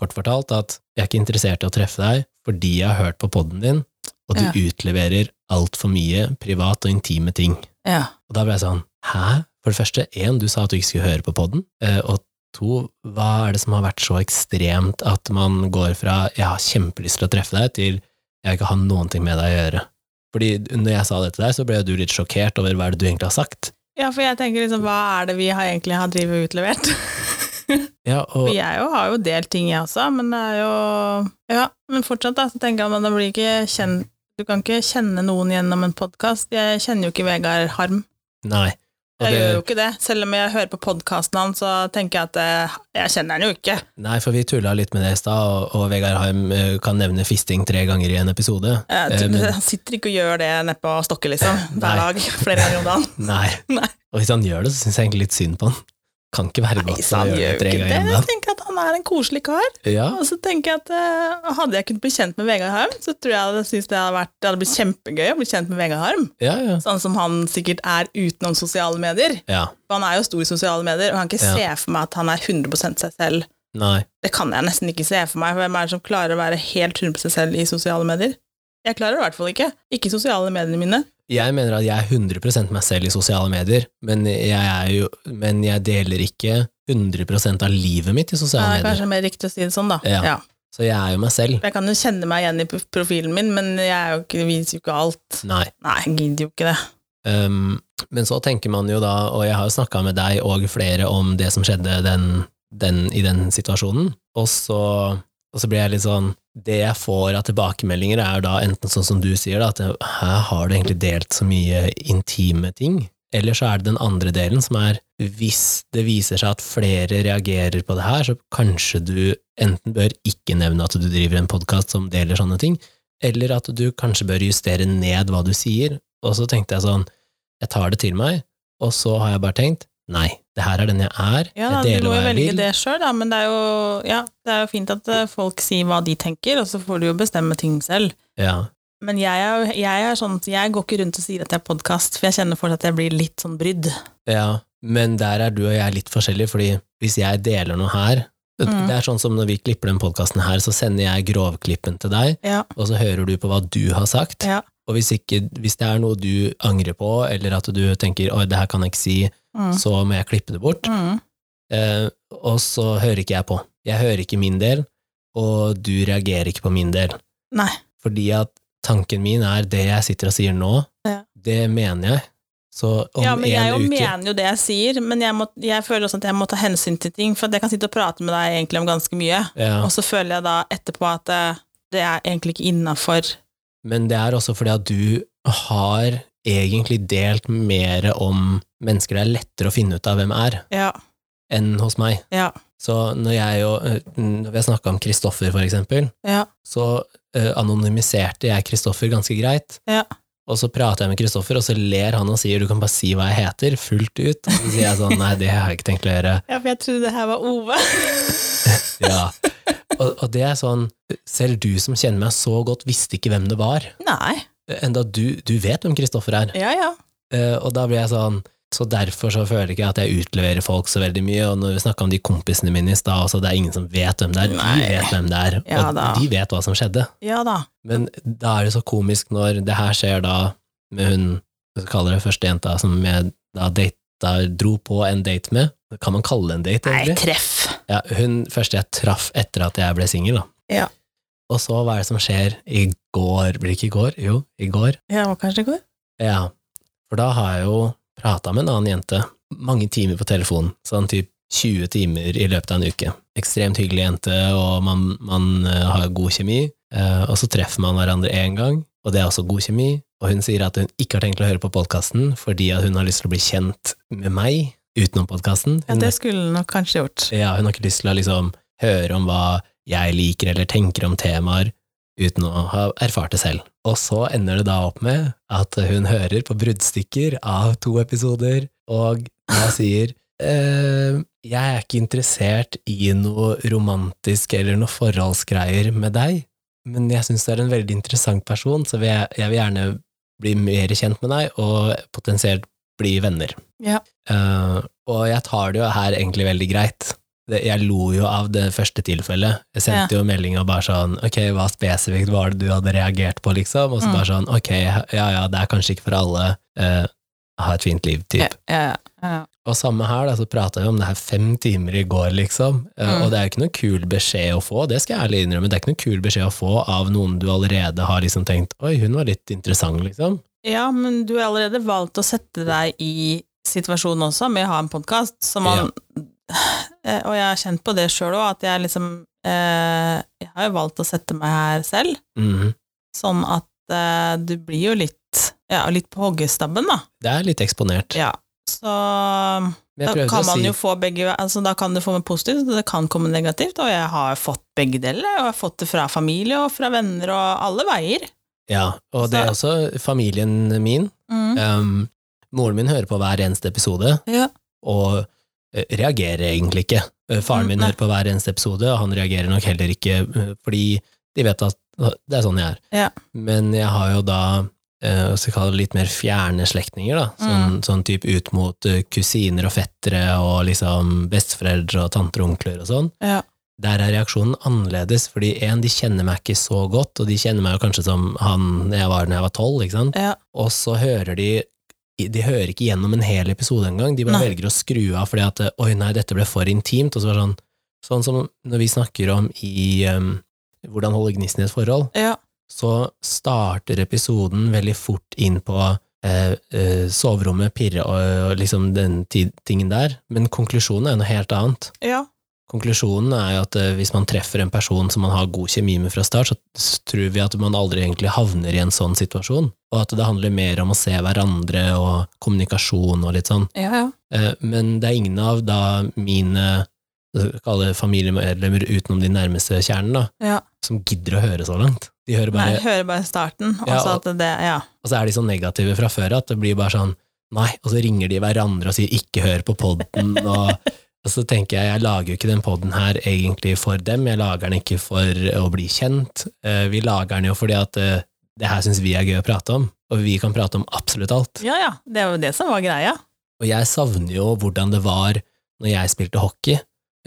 Speaker 1: kort fortalt at 'jeg er ikke interessert i å treffe deg fordi jeg har hørt på poden din', og du
Speaker 2: Ja.
Speaker 1: utleverer altfor mye privat og intime ting.
Speaker 2: Ja.
Speaker 1: Og da ble jeg sånn, hæ? For det første, én, du sa at du ikke skulle høre på podden, eh, og to, hva er det som har vært så ekstremt at man går fra jeg har kjempelyst til å treffe deg, til jeg vil ikke har noen ting med deg å gjøre? Fordi når jeg sa det til deg, så ble jo du litt sjokkert over hva er det du egentlig har sagt.
Speaker 2: Ja, for jeg tenker liksom, hva er det vi har egentlig har drivet og utlevert?
Speaker 1: Ja,
Speaker 2: For
Speaker 1: og
Speaker 2: jeg jo har jo delt ting, jeg også, men det er jo Ja, men fortsatt, da, så tenker jeg at man blir ikke kjent Du kan ikke kjenne noen gjennom en podkast. Jeg kjenner jo ikke Vegard Harm.
Speaker 1: nei. Og
Speaker 2: Jeg gjør jo
Speaker 1: det,
Speaker 2: ikke det. Selv om jeg hører på podkasten hans, så tenker jeg at eh, jeg kjenner han jo ikke.
Speaker 1: nei, for vi tulla litt med det i stad, og, og Vegard Harm eh, kan nevne fisting tre ganger i en episode.
Speaker 2: Jeg,
Speaker 1: Eh,
Speaker 2: tror-
Speaker 1: men-
Speaker 2: han sitter ikke og gjør det nedpå stokket, liksom.
Speaker 1: Nei.
Speaker 2: Hver dag. Flere ganger om dagen.
Speaker 1: Nei.
Speaker 2: Nei.
Speaker 1: Og hvis han gjør det, så syns jeg egentlig litt synd på han. Kan ikke være godt
Speaker 2: Så
Speaker 1: å
Speaker 2: han
Speaker 1: gjøre det
Speaker 2: gjør jo
Speaker 1: tre
Speaker 2: ikke det.
Speaker 1: ganger om
Speaker 2: Jeg
Speaker 1: dagen.
Speaker 2: tenker at han er en koselig kar.
Speaker 1: Ja,
Speaker 2: Og så tenker jeg at eh, hadde jeg kunnet bli kjent med Vegard Harm, så tror jeg jeg hadde syntes det hadde, vært, det hadde blitt kjempegøy å bli kjent med Vegard Harm.
Speaker 1: ja, ja.
Speaker 2: Sånn som han sikkert er utenom sosiale medier.
Speaker 1: ja.
Speaker 2: For han er jo stor i sosiale medier, og jeg kan ikke
Speaker 1: Ja.
Speaker 2: se for meg at han er 100 seg selv.
Speaker 1: Nei.
Speaker 2: Det kan jeg nesten ikke se for meg. for Hvem er det som klarer å være helt 100 seg selv i sosiale medier? Jeg klarer det i hvert fall ikke. Ikke i sosiale mediene mine.
Speaker 1: Jeg mener at jeg er 100 meg selv i sosiale medier, men jeg, er jo, men jeg deler ikke 100 av livet mitt i
Speaker 2: Det
Speaker 1: sosiale
Speaker 2: er
Speaker 1: medier.
Speaker 2: kanskje mer riktig å si det sånn, da.
Speaker 1: Ja. Så jeg er jo meg selv.
Speaker 2: Jeg kan jo kjenne meg igjen i p- profilen min, men jeg er jo ikke, viser jo ikke alt.
Speaker 1: Nei.
Speaker 2: Nei, jeg gidder jo ikke det.
Speaker 1: Um, men så tenker man jo da, og jeg har jo snakka med deg og flere om det som skjedde den, den, i den situasjonen, og så, og så blir jeg litt sånn Det jeg får av tilbakemeldinger, er jo da enten sånn som du sier, da, at her har du egentlig delt så mye intime ting, eller så er det den andre delen som er hvis det viser seg at flere reagerer på det her, så kanskje du enten bør ikke nevne at du driver en podkast som deler sånne ting, eller at du kanskje bør justere ned hva du sier. Og så tenkte jeg sånn, jeg tar det til meg, og så har jeg bare tenkt, nei, det her er den jeg er,
Speaker 2: Ja, da,
Speaker 1: jeg deler
Speaker 2: du må
Speaker 1: hva
Speaker 2: jo
Speaker 1: jeg
Speaker 2: velge
Speaker 1: vil.
Speaker 2: det sjøl, da, men det er, jo, ja, det er jo fint at eh, folk sier hva de tenker, og så får du jo bestemme ting selv.
Speaker 1: Ja,
Speaker 2: Men jeg er, jo- jeg er sånn, jeg går ikke rundt og sier at jeg er podkast, for jeg kjenner fortsatt at jeg blir litt sånn brydd.
Speaker 1: ja, men der er du og jeg litt forskjellige, fordi hvis jeg deler noe her,
Speaker 2: Mm.
Speaker 1: det er sånn som når vi klipper den podkasten her, så sender jeg grovklippen til deg,
Speaker 2: Ja,
Speaker 1: og så hører du på hva du har sagt,
Speaker 2: ja.
Speaker 1: og hvis, ikke, hvis det er noe du angrer på, eller at du tenker, oi, det her kan jeg ikke si,
Speaker 2: Mm.
Speaker 1: så må jeg klippe det bort,
Speaker 2: Mm.
Speaker 1: Eh, og så hører ikke jeg på. Jeg hører ikke min del, og du reagerer ikke på min del.
Speaker 2: Nei.
Speaker 1: Fordi at tanken min er det jeg sitter og sier nå,
Speaker 2: Ja.
Speaker 1: det mener jeg. Så om
Speaker 2: ja, men jeg jo
Speaker 1: en uke
Speaker 2: mener jo det jeg sier, men jeg, må, jeg føler også at jeg må ta hensyn til ting, for at jeg kan sitte og prate med deg egentlig om ganske mye,
Speaker 1: ja.
Speaker 2: og så føler jeg da etterpå at eh, det er egentlig ikke innafor.
Speaker 1: Men det er også fordi at du har egentlig delt mer om mennesker det er lettere å finne ut av hvem er,
Speaker 2: Ja,
Speaker 1: enn hos meg.
Speaker 2: ja,
Speaker 1: Så når jeg og eh, Når vi har snakka om Kristoffer, for eksempel,
Speaker 2: ja.
Speaker 1: så eh, anonymiserte jeg Kristoffer ganske greit.
Speaker 2: Ja.
Speaker 1: Og så prater jeg med Kristoffer, og så ler han og sier du kan bare si hva jeg heter, fullt ut. Og så sier jeg sånn nei, det har jeg ikke tenkt å gjøre.
Speaker 2: Ja, for jeg trodde det her var Ove.
Speaker 1: Ja. Og, og det er sånn, selv du som kjenner meg så godt, visste ikke hvem det var.
Speaker 2: Nei.
Speaker 1: Enda du, du vet hvem Kristoffer er.
Speaker 2: Ja, ja.
Speaker 1: Eh, og da blir jeg sånn så derfor så føler ikke jeg at jeg utleverer folk så veldig mye, og når vi snakka om de kompisene mine i stad også, det er ingen som vet hvem det er.
Speaker 2: Nei.
Speaker 1: De vet hvem det er,
Speaker 2: Ja
Speaker 1: og
Speaker 2: da.
Speaker 1: de vet hva som skjedde.
Speaker 2: Ja da.
Speaker 1: Men da er det så komisk når det her skjer da med hun, hva skal jeg kalle det første jenta som jeg da data, dro på en date med. Kan man kalle det en date,
Speaker 2: Nei,
Speaker 1: egentlig?
Speaker 2: treff.
Speaker 1: Ja, hun første jeg traff etter at jeg ble singel, da.
Speaker 2: Ja.
Speaker 1: Og så hva er det som skjer i går, blir det ikke i går? Jo, i går.
Speaker 2: Ja, det var kanskje det går?
Speaker 1: Ja, for da har jeg jo prata med en annen jente mange timer på telefonen, sånn typ 20 timer i løpet av en uke. Ekstremt hyggelig jente, og man, man eh, har god kjemi. eh, Og så treffer man hverandre én gang, og det er også god kjemi. Og hun sier at hun ikke har tenkt å høre på podkasten fordi at hun har lyst til å bli kjent med meg utenom podkasten.
Speaker 2: Ja, det skulle den nok kanskje gjort.
Speaker 1: Ja, hun har ikke lyst til å liksom høre om hva jeg liker eller tenker om temaer uten å ha erfart det selv. Og så ender det da opp med at hun hører på bruddstykker av to episoder, og jeg sier eh, jeg er ikke interessert i noe romantisk eller noe forholdsgreier med deg, men jeg syns du er en veldig interessant person, så vil jeg, jeg vil gjerne bli mer kjent med deg, og potensielt bli venner.
Speaker 2: Ja.
Speaker 1: Eh, og jeg tar det jo her egentlig veldig greit. Det, jeg lo jo av det første tilfellet. Jeg sendte jo melding og bare sånn Ok, hva spesifikt var det du hadde reagert på, liksom? Og så
Speaker 2: Mm.
Speaker 1: bare sånn Ok, ja ja, det er kanskje ikke for alle. eh, ha et fint liv,
Speaker 2: Ja,
Speaker 1: type.
Speaker 2: ja, ja. Ja.
Speaker 1: Og samme her, da, så prata vi om det her fem timer i går, liksom. Eh,
Speaker 2: Mm.
Speaker 1: Og det er jo ikke noe kul beskjed å få, det skal jeg ærlig innrømme. Det er ikke noe kul beskjed å få av noen du allerede har liksom tenkt Oi, hun var litt interessant, liksom.
Speaker 2: Ja, men du har allerede valgt å sette deg i situasjonen også med å ha en podkast, som man Eh, Og jeg har kjent på det sjøl òg, at jeg liksom eh, Jeg har jo valgt å sette meg her selv,
Speaker 1: Mhm.
Speaker 2: sånn at eh, du blir jo litt Ja, litt på hoggestabben, da.
Speaker 1: Det er litt eksponert.
Speaker 2: Ja. Så
Speaker 1: Men
Speaker 2: da
Speaker 1: jeg prøvde
Speaker 2: kan
Speaker 1: å
Speaker 2: man
Speaker 1: si
Speaker 2: jo få begge altså Da kan det få med positivt, og det kan komme negativt, og jeg har fått begge deler. Og jeg har fått det fra familie og fra venner og alle veier.
Speaker 1: Ja, og det er også familien min.
Speaker 2: Mm.
Speaker 1: Um, moren min hører på hver eneste episode,
Speaker 2: Ja.
Speaker 1: og eh, reagerer egentlig ikke. Eh, Faren
Speaker 2: Mm,
Speaker 1: min
Speaker 2: nei.
Speaker 1: hører på hver eneste episode, og han reagerer nok heller ikke, eh, fordi de vet at eh, det er sånn jeg er.
Speaker 2: Ja.
Speaker 1: Men jeg har jo da eh, hva skal jeg kalle det, litt mer fjerne slektninger, da. Sånn,
Speaker 2: Mm.
Speaker 1: sånn type ut mot eh, kusiner og fettere og liksom besteforeldre og tanter og onkler og sånn.
Speaker 2: Ja.
Speaker 1: Der er reaksjonen annerledes, fordi en, de kjenner meg ikke så godt, og de kjenner meg jo kanskje som han jeg var da jeg var tolv, ikke sant?
Speaker 2: Ja.
Speaker 1: og så hører de de hører ikke gjennom en hel episode engang, de bare
Speaker 2: Nei.
Speaker 1: velger å skru av fordi at oi nei, dette ble for intimt, og så var det sånn, sånn som når vi snakker om i ehm, hvordan holde gnisten i et forhold,
Speaker 2: Ja.
Speaker 1: så starter episoden veldig fort inn på eh, eh, soverommet, pirre og, og liksom den ti- tingen der, men konklusjonen er jo noe helt annet.
Speaker 2: ja.
Speaker 1: Konklusjonen er jo at eh, hvis man treffer en person som man har god kjemi med fra start, så s- tror vi at man aldri egentlig havner i en sånn situasjon, og at det handler mer om å se hverandre og kommunikasjon og litt sånn.
Speaker 2: ja, ja.
Speaker 1: Eh, Men det er ingen av da mine eh, kall det familiemedlemmer utenom de nærmeste kjernen, da,
Speaker 2: Ja.
Speaker 1: som gidder å høre så langt. De hører
Speaker 2: Nei,
Speaker 1: bare,
Speaker 2: jeg hører bare starten, og
Speaker 1: Ja,
Speaker 2: så
Speaker 1: og-
Speaker 2: at det Ja.
Speaker 1: og så er de så negative fra før at det blir bare sånn nei, og så ringer de hverandre og sier ikke hør på podden, og, og så tenker jeg jeg lager jo ikke den podden her egentlig for dem, jeg lager den ikke for å bli kjent, Eh, vi lager den jo fordi at eh, det her syns vi er gøy å prate om, og vi kan prate om absolutt alt.
Speaker 2: ja, ja. Det var jo det som var greia.
Speaker 1: Og jeg savner jo hvordan det var når jeg spilte hockey.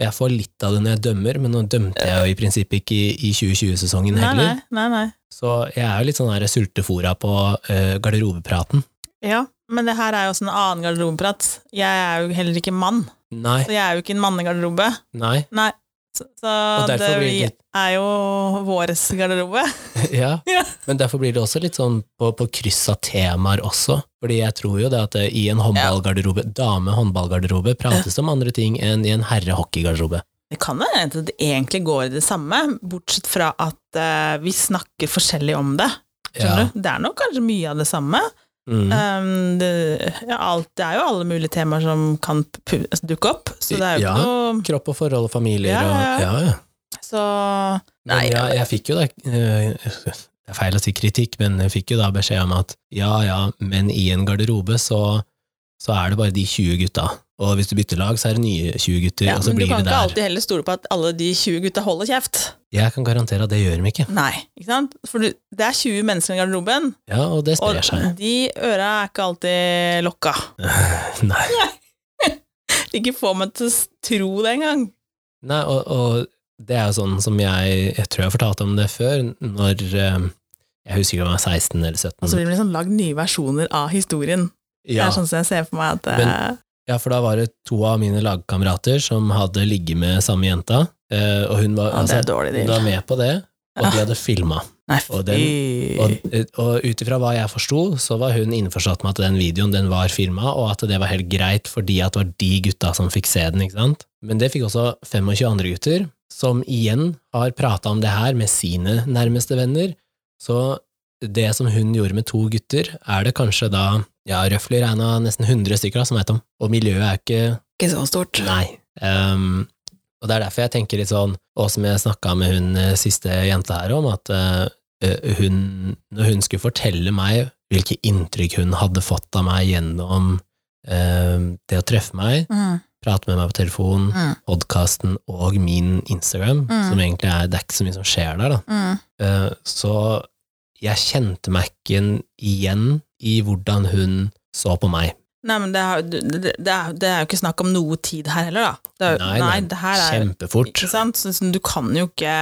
Speaker 1: Og Jeg får litt av det når jeg dømmer, men nå dømte jeg jo i prinsippet ikke i, i 2020-sesongen
Speaker 2: Nei, nei,
Speaker 1: heller.
Speaker 2: nei, nei.
Speaker 1: Så jeg er jo litt sånn her sultefora på eh, garderobepraten.
Speaker 2: Ja, men det her er jo sånn annen garderobeprat. Jeg er jo heller ikke mann,
Speaker 1: Nei,
Speaker 2: så jeg er jo ikke en mannegarderobe.
Speaker 1: nei.
Speaker 2: Nei. Så, så
Speaker 1: Og
Speaker 2: det
Speaker 1: derfor
Speaker 2: vi
Speaker 1: blir det
Speaker 2: er jo våres garderobe.
Speaker 1: Ja,
Speaker 2: Ja.
Speaker 1: men derfor blir det også litt sånn på, på kryss av temaer også. Fordi jeg tror jo det at eh, i en håndballgarderobe, dame-håndballgarderobe, prates det om andre ting enn i en herre-hockeygarderobe.
Speaker 2: Det kan jo hende at det egentlig går i det samme, bortsett fra at eh, vi snakker forskjellig om det. Skjønner du? Det er nok kanskje mye av det samme.
Speaker 1: Mm.
Speaker 2: Um, det, ja, alt, det er jo alle mulige temaer som kan pu- dukke opp, så det er jo
Speaker 1: Ja.
Speaker 2: ikke noe
Speaker 1: Kropp og forhold og familier
Speaker 2: Ja, ja,
Speaker 1: og
Speaker 2: ja.
Speaker 1: Ja, ja.
Speaker 2: Så
Speaker 1: Men
Speaker 2: Nei,
Speaker 1: ja, jeg fikk jo da eh, Det er feil å si kritikk, men jeg fikk jo da beskjed om at ja, ja, men i en garderobe så, så er det bare de 20 gutta. Og hvis du bytter lag, så er det nye 20 gutter,
Speaker 2: ja,
Speaker 1: og så
Speaker 2: men du
Speaker 1: blir
Speaker 2: kan
Speaker 1: vi
Speaker 2: ikke
Speaker 1: der.
Speaker 2: alltid heller stole på at alle de 20 gutta holder kjeft.
Speaker 1: Jeg kan garantere at det gjør de ikke.
Speaker 2: Nei, ikke sant? For du, det er 20 mennesker i garderoben,
Speaker 1: Ja, og det
Speaker 2: og
Speaker 1: sprer seg.
Speaker 2: de øra er ikke alltid lokka.
Speaker 1: Nei.
Speaker 2: Ikke få meg til å s- tro det engang.
Speaker 1: Nei, og, og det er jo sånn som jeg Jeg tror jeg fortalte om det før, når eh, Jeg husker ikke om jeg var 16 eller 17.
Speaker 2: Og så blir det liksom lagd nye versjoner av historien. Det
Speaker 1: ja.
Speaker 2: er sånn som jeg ser for meg at eh,
Speaker 1: Men- Ja, for da var det to av mine lagkamerater som hadde ligget med samme jenta, eh, og hun var,
Speaker 2: ja, Det
Speaker 1: altså,
Speaker 2: er dårlig
Speaker 1: hun
Speaker 2: deal.
Speaker 1: var med på det, og
Speaker 2: Ja.
Speaker 1: de hadde filma.
Speaker 2: Nei,
Speaker 1: og
Speaker 2: fy.
Speaker 1: Og, og ut ifra hva jeg forsto, så var hun innforstått med at den videoen den var filma, og at det var helt greit fordi at det var de gutta som fikk se den, ikke sant? Men det fikk også 25 andre gutter, som igjen har prata om det her med sine nærmeste venner. Så det som hun gjorde med to gutter, er det kanskje da ja, røftlig regna nesten 100 stykker da, som veit om. Og miljøet er ikke
Speaker 2: Ikke så stort.
Speaker 1: Nei. Ehm, og det er derfor jeg tenker litt sånn, og som jeg snakka med hun eh, siste jenta her om, at eh, hun, når hun skulle fortelle meg hvilke inntrykk hun hadde fått av meg gjennom ehm, det å treffe meg,
Speaker 2: Mm,
Speaker 1: prate med meg på telefon,
Speaker 2: mm,
Speaker 1: podkasten og min Instagram,
Speaker 2: Mm.
Speaker 1: som egentlig er det er ikke så mye som skjer der, da.
Speaker 2: mm.
Speaker 1: Eh, så jeg kjente meg ikke igjen i hvordan hun så på meg.
Speaker 2: Nei, men det, har, det, det, det er, det er jo ikke snakk om noe tid her heller, da. Det er,
Speaker 1: Nei, nei,
Speaker 2: det her er,
Speaker 1: Kjempefort.
Speaker 2: Ikke sant? Så, liksom, du kan jo ikke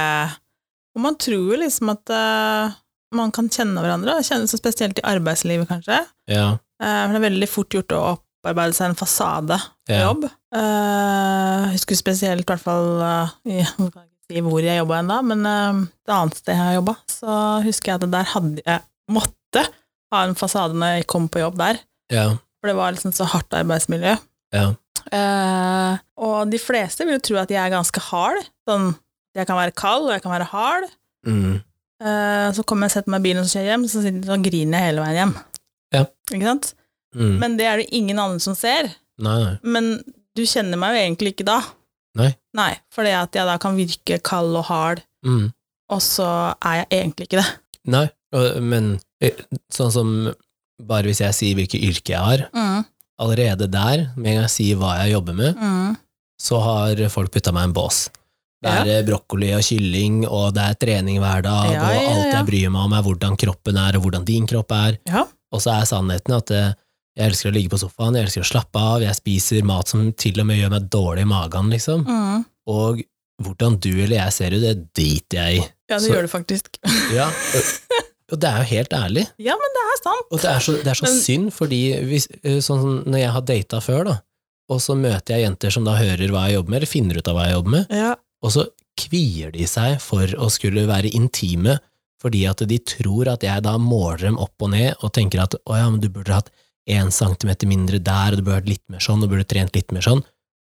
Speaker 2: Og man tror jo liksom at eh, man kan kjenne hverandre, og kjenne, så spesielt i arbeidslivet, kanskje.
Speaker 1: Ja.
Speaker 2: Eh, for det er veldig fort gjort å opp, opparbeide seg en fasade på
Speaker 1: Ja.
Speaker 2: jobb. Eh, jeg husker spesielt i hvert fall eh, i- jeg kan ikke si hvor jeg jobba ennå, men eh, et annet sted jeg jobba, så husker jeg at der hadde jeg måtte ha en fasade når jeg kom på jobb der.
Speaker 1: Ja.
Speaker 2: For det var liksom så hardt arbeidsmiljø.
Speaker 1: Ja.
Speaker 2: Eh, og de fleste vil jo tro at jeg er ganske hard. Sånn, jeg kan være kald, og jeg kan være hard.
Speaker 1: Mm.
Speaker 2: Eh, så kommer jeg og setter meg i bilen og så kjører jeg hjem, så, sitter, så griner jeg hele veien hjem.
Speaker 1: Ja.
Speaker 2: Ikke sant?
Speaker 1: Mm.
Speaker 2: Men det er det jo ingen andre som ser.
Speaker 1: Nei, nei.
Speaker 2: Men du kjenner meg jo egentlig ikke da.
Speaker 1: Nei.
Speaker 2: Nei, fordi at jeg da kan virke kald og hard,
Speaker 1: Mm.
Speaker 2: og så er jeg egentlig ikke det.
Speaker 1: Nei, og- men eh, sånn som bare hvis jeg sier hvilket yrke jeg har,
Speaker 2: Mm,
Speaker 1: allerede der, med en gang jeg sier hva jeg jobber med,
Speaker 2: mm,
Speaker 1: så har folk putta meg i en bås. Det er eh, brokkoli og kylling, og det er trening hver dag,
Speaker 2: Ja,
Speaker 1: og
Speaker 2: ja,
Speaker 1: alt
Speaker 2: ja.
Speaker 1: jeg bryr meg om er hvordan kroppen er, og hvordan din kropp er.
Speaker 2: Ja.
Speaker 1: Og så er sannheten at eh, jeg elsker å ligge på sofaen, jeg elsker å slappe av, jeg spiser mat som til og med gjør meg dårlig i magen, liksom.
Speaker 2: Mm.
Speaker 1: Og hvordan du eller jeg ser ut, det driter jeg i.
Speaker 2: Ja, det
Speaker 1: Så-
Speaker 2: gjør du faktisk.
Speaker 1: Ja, og, og det er jo helt ærlig.
Speaker 2: ja, men det er sant.
Speaker 1: Og det er så, det er så
Speaker 2: Men-
Speaker 1: synd, fordi hvis, eh, sånn som når jeg har data før, da, og så møter jeg jenter som da hører hva jeg jobber med, eller finner ut av hva jeg jobber med,
Speaker 2: Ja.
Speaker 1: og så kvier de seg for å skulle være intime, fordi at de tror at jeg da måler dem opp og ned, og tenker at å ja, men du burde hatt én centimeter mindre der, og du burde hatt litt mer sånn, og du burde trent litt mer sånn.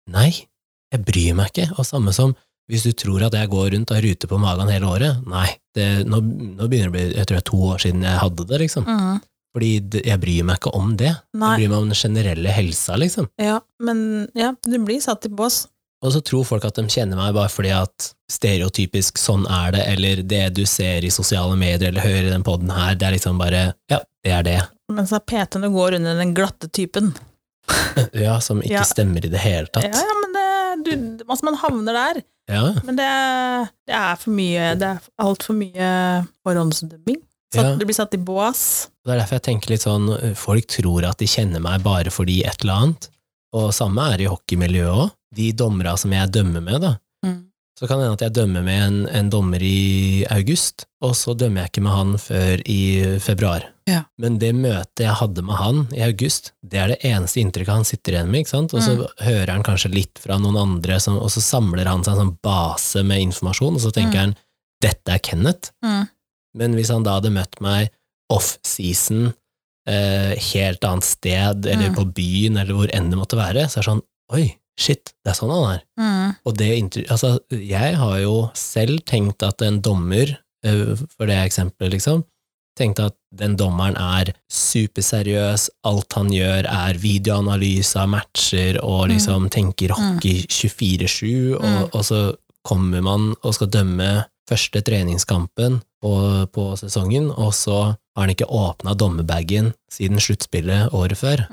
Speaker 1: Nei, jeg bryr meg ikke, og samme som hvis du tror at jeg går rundt og har rute på magen hele året, nei, det, nå, nå begynner det å bli, jeg tror det er to år siden jeg hadde det, liksom.
Speaker 2: Mm.
Speaker 1: Fordi det, jeg bryr meg ikke om det.
Speaker 2: Nei,
Speaker 1: Jeg bryr meg om den generelle helsa, liksom.
Speaker 2: ja, men ja, du blir satt i bås.
Speaker 1: Og så tror folk at de kjenner meg bare fordi at stereotypisk sånn er det, eller det du ser i sosiale medier eller hører i den poden her, det er liksom bare ja, det er det.
Speaker 2: Mens da PT-ene går under den glatte typen.
Speaker 1: Ja, som ikke
Speaker 2: Ja.
Speaker 1: stemmer i det hele
Speaker 2: Ja,
Speaker 1: tatt.
Speaker 2: ja, men det, du, altså man havner der.
Speaker 1: Ja,
Speaker 2: Men det, det er for mye Det er altfor mye forhåndsdømming. Så
Speaker 1: Ja.
Speaker 2: Du blir satt i bås.
Speaker 1: Det er derfor jeg tenker litt sånn, folk tror at de kjenner meg bare fordi et eller annet, og samme er det i hockeymiljøet òg. De dommera som jeg dømmer med, da,
Speaker 2: Mm.
Speaker 1: Så kan det hende at jeg dømmer med en, en dommer i august, og så dømmer jeg ikke med han før i februar.
Speaker 2: Ja.
Speaker 1: Men det møtet jeg hadde med han i august, det er det eneste inntrykket han sitter igjen med, ikke sant? Og
Speaker 2: Mm.
Speaker 1: så hører han kanskje litt fra noen andre, som, og så samler han seg en sånn base med informasjon, og så
Speaker 2: Mm.
Speaker 1: tenker han, dette er Kenneth. Men hvis han da hadde møtt meg off-season, eh, helt annet sted, eller
Speaker 2: Mm.
Speaker 1: på byen, eller hvor enn det måtte være, så er det sånn, oi, shit, det er sånn han er.
Speaker 2: mm,
Speaker 1: Og det inntrykk- altså, jeg har jo selv tenkt at en dommer, eh, for det eksempelet, liksom, tenkt at den dommeren er superseriøs, alt han gjør er videoanalyse av matcher, og liksom tenker hockey 24-7, og, og så kommer man og skal dømme første treningskampen på, på sesongen, og så har han ikke åpna dommerbagen siden sluttspillet året før,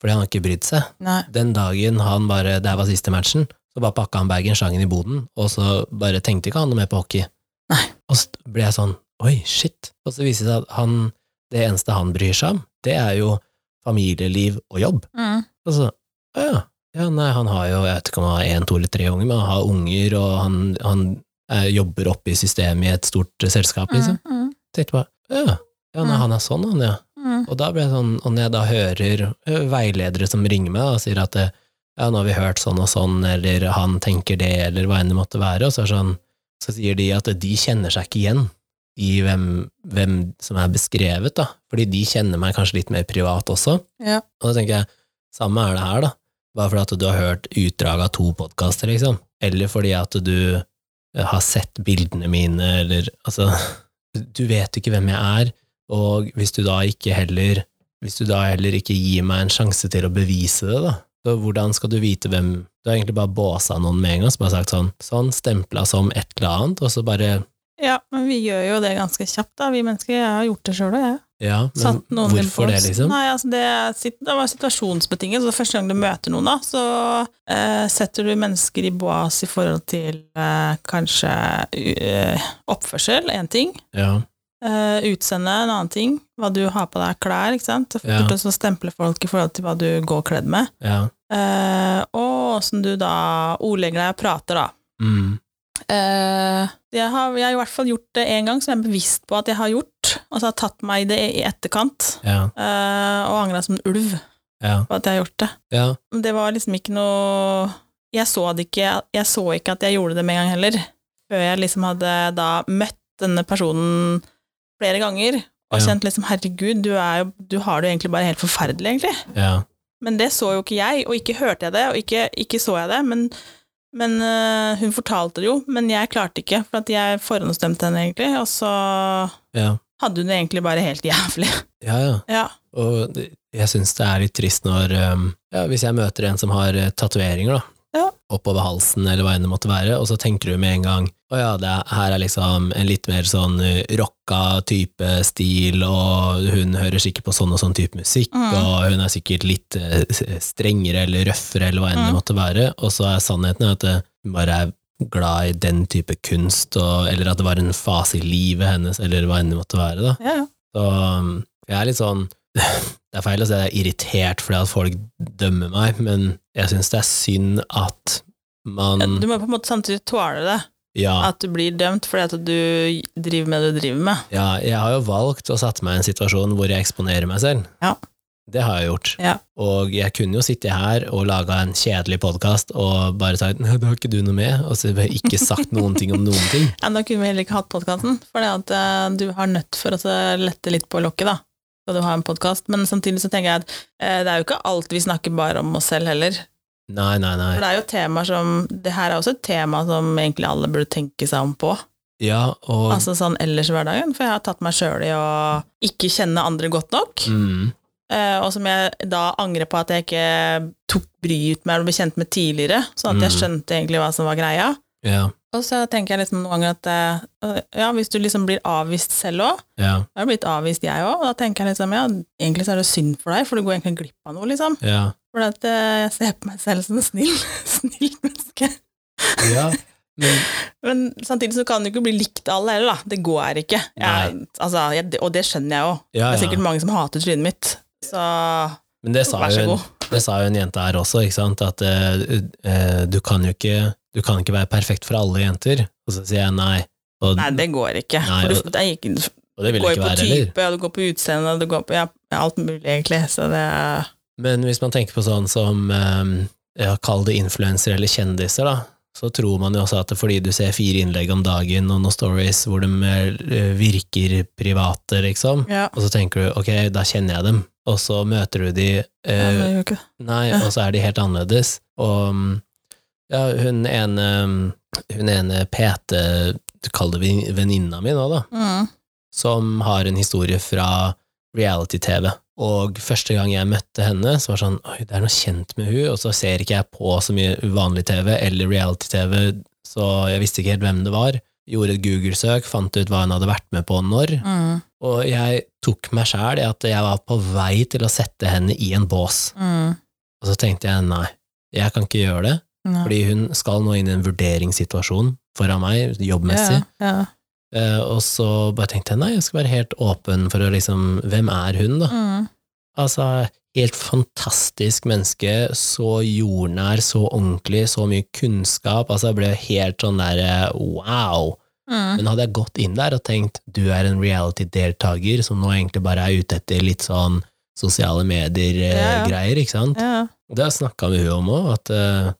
Speaker 1: fordi han har ikke brydd seg
Speaker 2: mm. Nei.
Speaker 1: den dagen han bare, det her var siste matchen, så bare pakka han bagen, slangen i boden, og så bare tenkte ikke han noe mer på hockey.
Speaker 2: Nei.
Speaker 1: Og så ble jeg sånn, oi, shit. Og så viser det seg at han, det eneste han bryr seg om, det er jo familieliv og jobb.
Speaker 2: Mm,
Speaker 1: Og så, «Å ja, ja, nei, han har jo, jeg vet ikke om han har en, to eller tre unger, men han har unger, og han, han eh, jobber oppe i systemet i et stort eh, selskap, liksom. Tenkte bare, «Å ja, ja, nei,
Speaker 2: Mm.
Speaker 1: han er sånn, han, ja. Og da ble jeg sånn, og når jeg da hører ø, veiledere som ringer meg og sier at ø, ja, nå har vi hørt sånn og sånn, eller han tenker det, eller hva enn det måtte være, og så, er det sånn, så sier de at de kjenner seg ikke igjen i hvem, hvem som er beskrevet, da. Fordi de kjenner meg kanskje litt mer privat også.
Speaker 2: Ja.
Speaker 1: Og da tenker jeg, samme er det her, da. Bare fordi at du har hørt utdrag av to podkaster, liksom. Eller fordi at du eh, har sett bildene mine, eller altså Du vet ikke hvem jeg er, og hvis du da ikke heller Hvis du da heller ikke gir meg en sjanse til å bevise det, da, så hvordan skal du vite hvem Du har egentlig bare båsa noen med en gang, så bare sagt sånn, sånn, stempla som et eller annet, og så bare
Speaker 2: Ja, men vi gjør jo det ganske kjapt, da. Vi mennesker jeg har gjort det sjøl òg, jeg.
Speaker 1: Ja, men
Speaker 2: Satt noen i en
Speaker 1: hvorfor det,
Speaker 2: bås.
Speaker 1: liksom?
Speaker 2: Nei, altså det, er sit- det var situasjonsbetinget. Så første gang du møter noen, da, så eh, setter du mennesker i bås i forhold til eh, kanskje eh, oppførsel, én ting.
Speaker 1: Ja,
Speaker 2: Eh, utseende, en annen ting. Hva du har på deg av klær. ikke sant? Så
Speaker 1: Ja.
Speaker 2: fort også stemple folk i forhold til hva du går kledd med.
Speaker 1: ja.
Speaker 2: Eh, og åssen du da ordlegger deg og prater, da.
Speaker 1: Mm,
Speaker 2: Eh, jeg, har, jeg har i hvert fall gjort det én gang, som jeg er bevisst på at jeg har gjort. Og så har jeg tatt meg i det i etterkant,
Speaker 1: ja,
Speaker 2: eh, og angra som en ulv.
Speaker 1: Ja.
Speaker 2: og at jeg har gjort det.
Speaker 1: ja.
Speaker 2: Men Det var liksom ikke noe Jeg så det ikke, jeg så ikke at jeg gjorde det med en gang heller. Før jeg liksom hadde da møtt denne personen flere ganger og
Speaker 1: Ja.
Speaker 2: kjent liksom herregud, du, er jo, du har det jo egentlig bare helt forferdelig, egentlig.
Speaker 1: ja.
Speaker 2: Men det så jo ikke jeg, og ikke hørte jeg det, og ikke, ikke så jeg det. Men, men øh, hun fortalte det jo, men jeg klarte ikke, for at jeg forhåndsdømte henne egentlig. Og så
Speaker 1: ja.
Speaker 2: hadde hun det egentlig bare helt jævlig.
Speaker 1: ja, ja.
Speaker 2: Ja.
Speaker 1: Og det- jeg syns det er litt trist når um, ja, Hvis jeg møter en som har eh, tatoveringer, da,
Speaker 2: Ja.
Speaker 1: oppover halsen eller hva enn det måtte være, og så tenker du med en gang å ja, det er, her er liksom en litt mer sånn eh, rocka type stil, og hun hører sikkert på sånn og sånn type musikk,
Speaker 2: Mm.
Speaker 1: og hun er sikkert litt eh, s- strengere eller røffere eller hva enn det
Speaker 2: Mm.
Speaker 1: måtte være, og så er sannheten at eh, hun bare er glad i den type kunst, og, eller at det var en fase i livet hennes, eller hva enn det måtte være, da.
Speaker 2: ja, ja.
Speaker 1: Så um, jeg er litt sånn Det er feil å si jeg er irritert fordi at folk dømmer meg, men jeg syns det er synd at
Speaker 2: Ja,
Speaker 1: man
Speaker 2: Du må på en måte samtidig tåle det.
Speaker 1: Mm. Ja,
Speaker 2: At du blir dømt fordi at du driver med det du driver med.
Speaker 1: ja jeg har jo valgt å sette meg i en situasjon hvor jeg eksponerer meg selv.
Speaker 2: Ja.
Speaker 1: Det har jeg gjort.
Speaker 2: Ja.
Speaker 1: Og jeg kunne jo sitte her og laga en kjedelig podkast og bare sagt nei, det har ikke du noe med, og så har jeg ikke sagt noen ting om noen ting.
Speaker 2: Ja, men da kunne vi heller ikke hatt podkasten, for det at eh, du har nødt for å så lette litt på lokket, da. Skal du ha en podkast. Men samtidig så tenker jeg at eh, det er jo ikke alt vi snakker bare om oss selv heller.
Speaker 1: Nei, nei, nei.
Speaker 2: For det er jo temaer som Det her er også et tema som egentlig alle burde tenke seg om på.
Speaker 1: Ja, og
Speaker 2: Altså sånn ellers i hverdagen. For jeg har tatt meg sjøl i å ikke kjenne andre godt nok.
Speaker 1: mm,
Speaker 2: Eh, og som jeg da angrer på at jeg ikke tok bryet med eller ble kjent med tidligere, sånn at jeg
Speaker 1: Mm.
Speaker 2: skjønte egentlig hva som var greia.
Speaker 1: Ja.
Speaker 2: Og så tenker jeg liksom noen ganger at eh, ja, hvis du liksom blir avvist selv òg,
Speaker 1: Ja.
Speaker 2: jeg har blitt avvist, jeg òg, og da tenker jeg liksom ja, egentlig så er det synd for deg, for du går egentlig glipp av noe, liksom.
Speaker 1: Ja.
Speaker 2: For at eh, jeg ser på meg selv som en snill, snill menneske.
Speaker 1: ja. Men
Speaker 2: Men samtidig så kan du ikke bli likt av alle heller, da. Det går ikke. Jeg, altså, jeg, og det skjønner jeg òg.
Speaker 1: ja,
Speaker 2: Det er
Speaker 1: ja.
Speaker 2: sikkert mange som hater trynet mitt. Så
Speaker 1: Men det sa,
Speaker 2: vær
Speaker 1: jo
Speaker 2: så
Speaker 1: en,
Speaker 2: god.
Speaker 1: det sa jo en jente her også, ikke sant? at eh, eh, du kan jo ikke, du kan ikke være perfekt for alle jenter. Og så sier jeg nei, og,
Speaker 2: Nei, det går ikke.
Speaker 1: Nei,
Speaker 2: For
Speaker 1: og-
Speaker 2: du, det er ikke,
Speaker 1: og det
Speaker 2: du
Speaker 1: vil
Speaker 2: går
Speaker 1: jeg
Speaker 2: jo
Speaker 1: ikke
Speaker 2: på
Speaker 1: være heller.
Speaker 2: type, og du går på utseende, og du går på ja, alt mulig, egentlig. Så det er
Speaker 1: Men hvis man tenker på sånn som eh, ja, Kall det influensere eller kjendiser, da. Så tror man jo også at fordi du ser fire innlegg om dagen og noen stories hvor de eh, virker private, liksom,
Speaker 2: Ja,
Speaker 1: og så tenker du ok, da kjenner jeg dem, og så møter du de
Speaker 2: ja
Speaker 1: eh,
Speaker 2: det gjør ikke det.
Speaker 1: Nei,
Speaker 2: Ja.
Speaker 1: og så er de helt annerledes. Og mm, ja, hun ene, mm, hun ene PT, kall det ven- venninna mi nå, da,
Speaker 2: Mm.
Speaker 1: som har en historie fra reality-TV. Og første gang jeg møtte henne, så var det sånn Oi, det er noe kjent med hun, og så ser ikke jeg på så mye uvanlig TV eller reality-TV, så jeg visste ikke helt hvem det var. Gjorde et Google-søk, fant ut hva hun hadde vært med på når,
Speaker 2: Mm.
Speaker 1: og jeg tok meg sjæl i at jeg var på vei til å sette henne i en bås.
Speaker 2: Mm.
Speaker 1: Og så tenkte jeg nei, jeg kan ikke gjøre det,
Speaker 2: Ja.
Speaker 1: fordi hun skal nå inn i en vurderingssituasjon foran meg, jobbmessig.
Speaker 2: Ja, ja.
Speaker 1: Eh, og så bare tenkte jeg nei, jeg skal være helt åpen for å liksom Hvem er hun, da?
Speaker 2: Mm.
Speaker 1: Altså, helt fantastisk menneske, så jordnær, så ordentlig, så mye kunnskap. Altså, jeg ble helt sånn der eh, wow.
Speaker 2: Mm.
Speaker 1: Men hadde jeg gått inn der og tenkt du er en reality-deltaker som nå egentlig bare er ute etter litt sånn sosiale
Speaker 2: Ja, ja.
Speaker 1: medier-greier, ikke sant?
Speaker 2: Ja.
Speaker 1: Det har jeg snakka med hun om òg, at eh,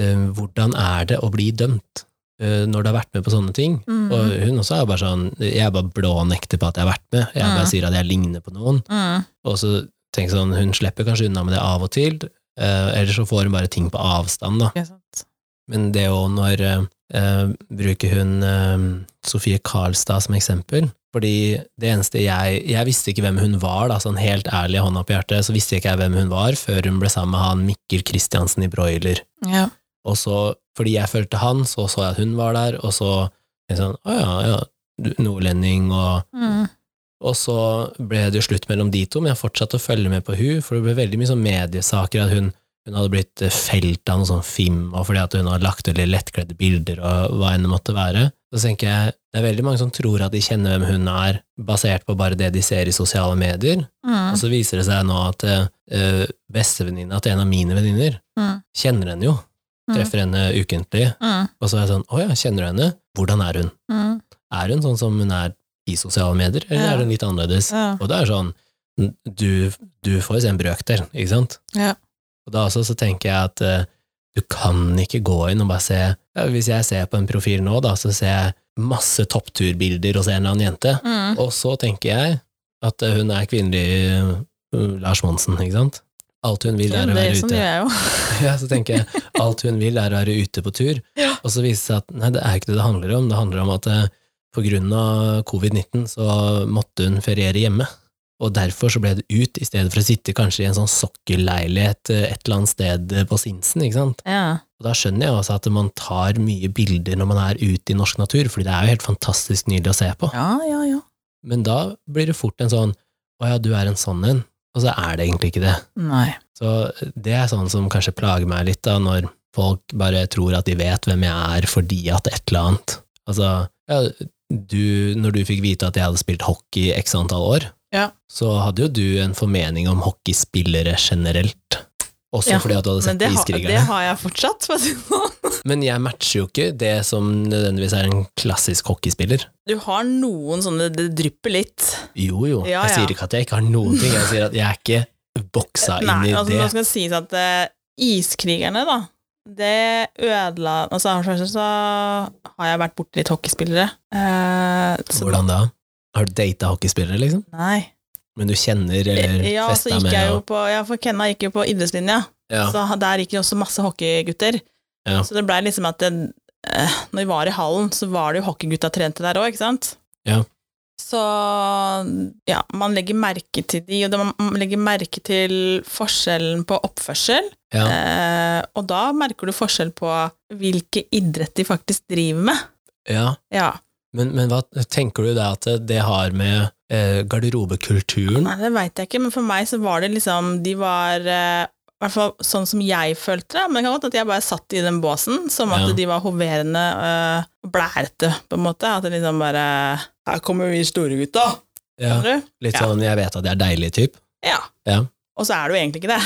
Speaker 1: eh, hvordan er det å bli dømt eh, når du har vært med på sånne ting?
Speaker 2: Mm.
Speaker 1: Og hun også er bare sånn Jeg er bare blånekter på at jeg har vært med, jeg bare
Speaker 2: Mm.
Speaker 1: sier at jeg ligner på noen.
Speaker 2: Mm.
Speaker 1: Og så tenker jeg sånn, hun slipper kanskje unna med det av og til, uh, eller så får hun bare ting på avstand, da.
Speaker 2: Ikke sant.
Speaker 1: Men det òg når eh, eh, Bruker hun eh, Sofie Karlstad som eksempel? Fordi det eneste jeg Jeg visste ikke hvem hun var, da, sånn helt ærlig hånda på hjertet, så visste ikke jeg hvem hun var før hun ble sammen med han Mikkel Kristiansen i Broiler.
Speaker 2: Ja.
Speaker 1: Og så, fordi jeg fulgte han, så så jeg at hun var der, og så tenkte jeg sånn Å ja, ja, du- nordlending og
Speaker 2: Mm.
Speaker 1: og så ble det jo slutt mellom de to, men jeg fortsatte å følge med på hun, for det ble veldig mye sånn mediesaker at hun, hun hadde blitt felt av noe sånn film, og fordi at hun hadde lagt ut litt lettkledde bilder og hva enn det måtte være. Så tenker jeg, det er veldig mange som tror at de kjenner hvem hun er, basert på bare det de ser i sosiale medier,
Speaker 2: Mm.
Speaker 1: og så viser det seg nå at uh, bestevenninna til en av mine venninner
Speaker 2: Mm.
Speaker 1: kjenner henne jo,
Speaker 2: Mm.
Speaker 1: treffer henne ukentlig,
Speaker 2: Mm.
Speaker 1: og så er jeg sånn, åja, kjenner du henne? Hvordan er hun?
Speaker 2: Mm.
Speaker 1: Er hun sånn som hun er i sosiale medier, eller
Speaker 2: Ja.
Speaker 1: er hun litt annerledes?
Speaker 2: Ja.
Speaker 1: Og det er sånn, du, du får en brøkdel, ikke sant?
Speaker 2: Ja.
Speaker 1: Og da også så tenker jeg at eh, du kan ikke gå inn og bare se ja, Hvis jeg ser på en profil nå, da, så ser jeg masse toppturbilder hos en eller annen jente,
Speaker 2: Mm.
Speaker 1: og så tenker jeg at eh, hun er kvinnelig eh, Lars Monsen, ikke sant? Alt hun vil,
Speaker 2: Ja,
Speaker 1: er å
Speaker 2: det
Speaker 1: være
Speaker 2: sånn
Speaker 1: ute.
Speaker 2: gjør jeg jo.
Speaker 1: Ja, så tenker jeg, alt hun vil er å være ute på tur,
Speaker 2: Ja.
Speaker 1: og så viser det seg at nei, det er ikke det det handler om, det handler om at eh, på grunn av covid-19 så måtte hun feriere hjemme, og derfor så ble det ut, i stedet for å sitte kanskje i en sånn sokkelleilighet eh, et eller annet sted eh, på Sinsen, ikke sant?
Speaker 2: Ja.
Speaker 1: Og da skjønner jeg også at man tar mye bilder når man er ute i norsk natur, fordi det er jo helt fantastisk nydelig å se på.
Speaker 2: ja, ja, ja.
Speaker 1: Men da blir det fort en sånn, å ja, du er en sånn en, og så er det egentlig ikke det.
Speaker 2: Nei.
Speaker 1: Så det er sånn som kanskje plager meg litt, da, når folk bare tror at de vet hvem jeg er fordi at et eller annet. Altså, ja, du, når du fikk vite at jeg hadde spilt hockey i x antall år,
Speaker 2: Ja.
Speaker 1: så hadde jo du en formening om hockeyspillere generelt. Også
Speaker 2: Ja,
Speaker 1: fordi at du hadde
Speaker 2: Men
Speaker 1: sett
Speaker 2: det, har- det
Speaker 1: Iskrigerne.
Speaker 2: har jeg fortsatt. for å si det sånn.
Speaker 1: Men jeg matcher jo ikke det som nødvendigvis er en klassisk hockeyspiller.
Speaker 2: Du har noen sånne Det drypper litt.
Speaker 1: Jo, jo.
Speaker 2: Ja,
Speaker 1: Jeg
Speaker 2: ja.
Speaker 1: sier ikke at jeg ikke har noen ting. Jeg sier at jeg er ikke boksa inn
Speaker 2: Nei,
Speaker 1: i
Speaker 2: altså,
Speaker 1: det.
Speaker 2: nå skal det sies at eh, iskrigerne, da det ødela Altså, først så har jeg vært borti litt hockeyspillere. Eh, så-
Speaker 1: Hvordan da? Har du data hockeyspillere, liksom?
Speaker 2: Nei.
Speaker 1: Men du kjenner eller
Speaker 2: Eh, Ja,
Speaker 1: festa
Speaker 2: så gikk
Speaker 1: med
Speaker 2: jeg jo
Speaker 1: og-
Speaker 2: på Ja, for Kenna gikk jo på idrettslinja,
Speaker 1: ja.
Speaker 2: så ha- der gikk det også masse hockeygutter.
Speaker 1: Ja.
Speaker 2: Så det blei liksom at det, eh, når vi var i hallen, så var det jo hockeygutta trente der òg, ikke sant?
Speaker 1: Ja.
Speaker 2: Så ja, man legger merke til de, og det- man legger merke til forskjellen på oppførsel.
Speaker 1: Ja.
Speaker 2: Eh, og da merker du forskjell på hvilke idrett de faktisk driver med.
Speaker 1: ja.
Speaker 2: Ja.
Speaker 1: Men, men hva tenker du da at det har med eh, garderobekulturen
Speaker 2: Nei, det veit jeg ikke, men for meg så var det liksom De var eh, i hvert fall sånn som jeg følte det, men det kan godt at jeg bare satt i den båsen, som at
Speaker 1: Ja.
Speaker 2: de var hoverende eh, og blærete, på en måte. At det liksom bare Her kommer vi store gutta,
Speaker 1: ja,
Speaker 2: skjønner du?
Speaker 1: Litt
Speaker 2: Ja.
Speaker 1: sånn 'jeg vet at jeg er deilig' type?
Speaker 2: Ja.
Speaker 1: Ja.
Speaker 2: Og så er du egentlig ikke det.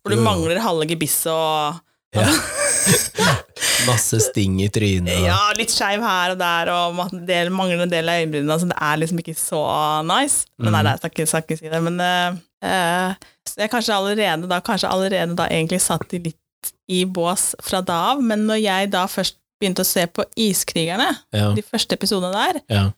Speaker 2: For
Speaker 1: Jo,
Speaker 2: du
Speaker 1: jo.
Speaker 2: mangler halve gebisset og
Speaker 1: Ja. Masse sting i trynet og
Speaker 2: Ja, litt skeiv her og der, og ma- del, manglende del av øyenbrynene. Altså, det er liksom ikke så nice. Men nei,
Speaker 1: Mm.
Speaker 2: nei, jeg skal ikke, skal ikke si det. Men eh, eh, så jeg kanskje allerede da, kanskje allerede da egentlig satt i litt i bås fra da av, men når jeg da først begynte å se på Iskrigerne,
Speaker 1: Ja,
Speaker 2: de første episodene der,
Speaker 1: ja.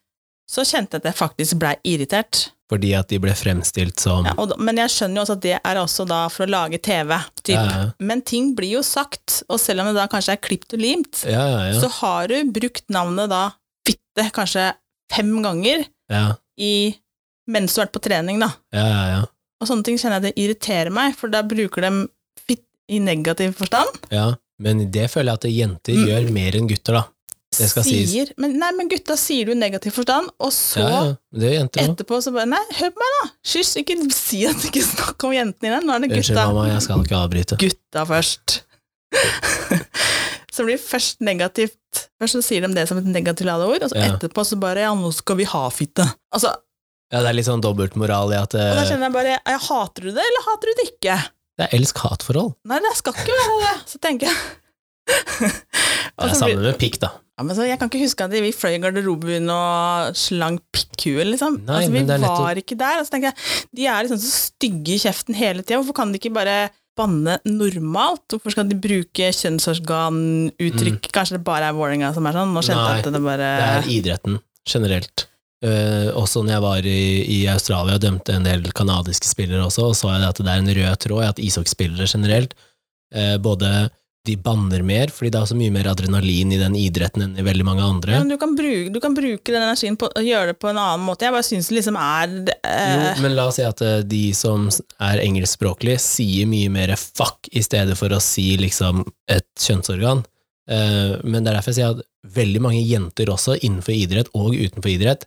Speaker 2: så kjente jeg at jeg faktisk blei irritert.
Speaker 1: Fordi at de ble fremstilt som
Speaker 2: Ja, og, da- men jeg skjønner jo også at det er også da for å lage TV, typ.
Speaker 1: Ja, ja.
Speaker 2: Men ting blir jo sagt, og selv om det da kanskje er klipt og limt,
Speaker 1: ja, ja, ja.
Speaker 2: så har du brukt navnet da fitte kanskje fem ganger
Speaker 1: ja,
Speaker 2: i, mens du har vært på trening, da.
Speaker 1: ja, ja, ja.
Speaker 2: Og sånne ting kjenner jeg det irriterer meg, for da bruker de fitt i negativ forstand.
Speaker 1: ja. Men det føler jeg at jenter
Speaker 2: Mm.
Speaker 1: gjør mer enn gutter, da. Det skal
Speaker 2: sier,
Speaker 1: sies.
Speaker 2: Men, nei, men gutta sier du i negativ forstand, og så
Speaker 1: Ja, ja. Det gjør jenter òg.
Speaker 2: etterpå så bare Nei, hør på meg, da! Skyss, ikke si at du ikke snakker om jentene dine. Nå er det
Speaker 1: Unnskyld,
Speaker 2: gutta.
Speaker 1: mamma, jeg skal ikke avbryte.
Speaker 2: Gutta først. så blir det først negativt. Først så sier de det som et negativt ladeord, og så
Speaker 1: Ja.
Speaker 2: etterpå så bare Ja, nå skal vi ha fitte. Altså,
Speaker 1: Ja, det er litt sånn dobbeltmoral i at
Speaker 2: Og da
Speaker 1: eh,
Speaker 2: kjenner jeg bare jeg Hater du det, eller hater du det ikke?
Speaker 1: det er elsk-hat-forhold.
Speaker 2: Nei, det skal ikke være det. Så tenker jeg
Speaker 1: Det
Speaker 2: Og
Speaker 1: er
Speaker 2: så
Speaker 1: samme
Speaker 2: blir-
Speaker 1: med pikk, da.
Speaker 2: ja, men så Jeg kan ikke huske at vi fløy i garderoben og slang pikkhue, liksom.
Speaker 1: Nei,
Speaker 2: altså, vi
Speaker 1: men det er lett å-
Speaker 2: var ikke der. Og så tenker jeg, de er liksom så stygge i kjeften hele tida, hvorfor kan de ikke bare banne normalt? Hvorfor skal de bruke kjønnsorganuttrykk? Kanskje det bare er Vålerenga som er sånn? Nå
Speaker 1: Mm.
Speaker 2: kjente
Speaker 1: Nei,
Speaker 2: jeg at det bare
Speaker 1: Det er idretten generelt. Eh, også når jeg var i, i Australia og dømte en del kanadiske spillere også, og så jeg det at det er en rød tråd i at ishockeyspillere generelt eh, både de banner mer, fordi det er så mye mer adrenalin i den idretten enn i veldig mange andre.
Speaker 2: Ja, men du, kan bruke, du kan bruke den energien på å gjøre det på en annen måte. Jeg bare syns det liksom er eh,
Speaker 1: Jo, men la oss si at eh, de som er engelskspråklige, sier mye mer fuck i stedet for å si liksom et kjønnsorgan. Eh, Men det er derfor jeg sier at veldig mange jenter også, innenfor idrett og utenfor idrett,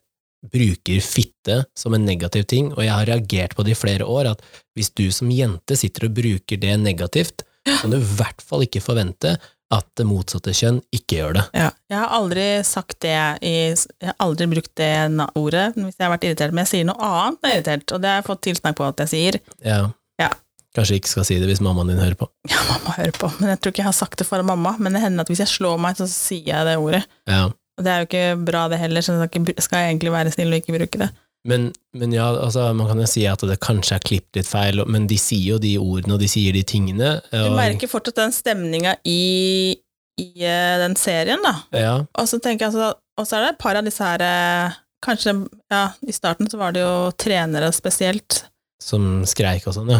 Speaker 1: bruker fitte som en negativ ting, og jeg har reagert på det i flere år, at hvis du som jente sitter og bruker det negativt, kan du i hvert fall ikke forvente at det motsatte kjønn ikke gjør det.
Speaker 2: Ja, jeg har aldri sagt det i, Jeg har aldri brukt det na- ordet hvis jeg har vært irritert, men jeg sier noe annet når jeg er irritert, og det har jeg fått tilsnakk på at jeg sier.
Speaker 1: Ja.
Speaker 2: Ja.
Speaker 1: Kanskje ikke skal si det hvis mammaen din hører på.
Speaker 2: Ja, mamma hører på, men jeg tror ikke jeg har sagt det for mamma, men det hender at hvis jeg slår meg, så sier jeg det ordet.
Speaker 1: Ja.
Speaker 2: Og det er jo ikke bra det heller, så jeg skal, ikke, bru- skal jeg egentlig være snill og ikke bruke det.
Speaker 1: Men, men ja, altså, man kan jo si at det kanskje er klippet litt feil, og- men de sier jo de ordene, og de sier de tingene.
Speaker 2: Du
Speaker 1: Og,
Speaker 2: merker fortsatt den stemninga i, i eh, den serien, da.
Speaker 1: Ja,
Speaker 2: Og så tenker jeg altså, og så er det et par av disse her eh, Kanskje ja, i starten så var det jo trenere spesielt.
Speaker 1: som skreik og sånn, ja.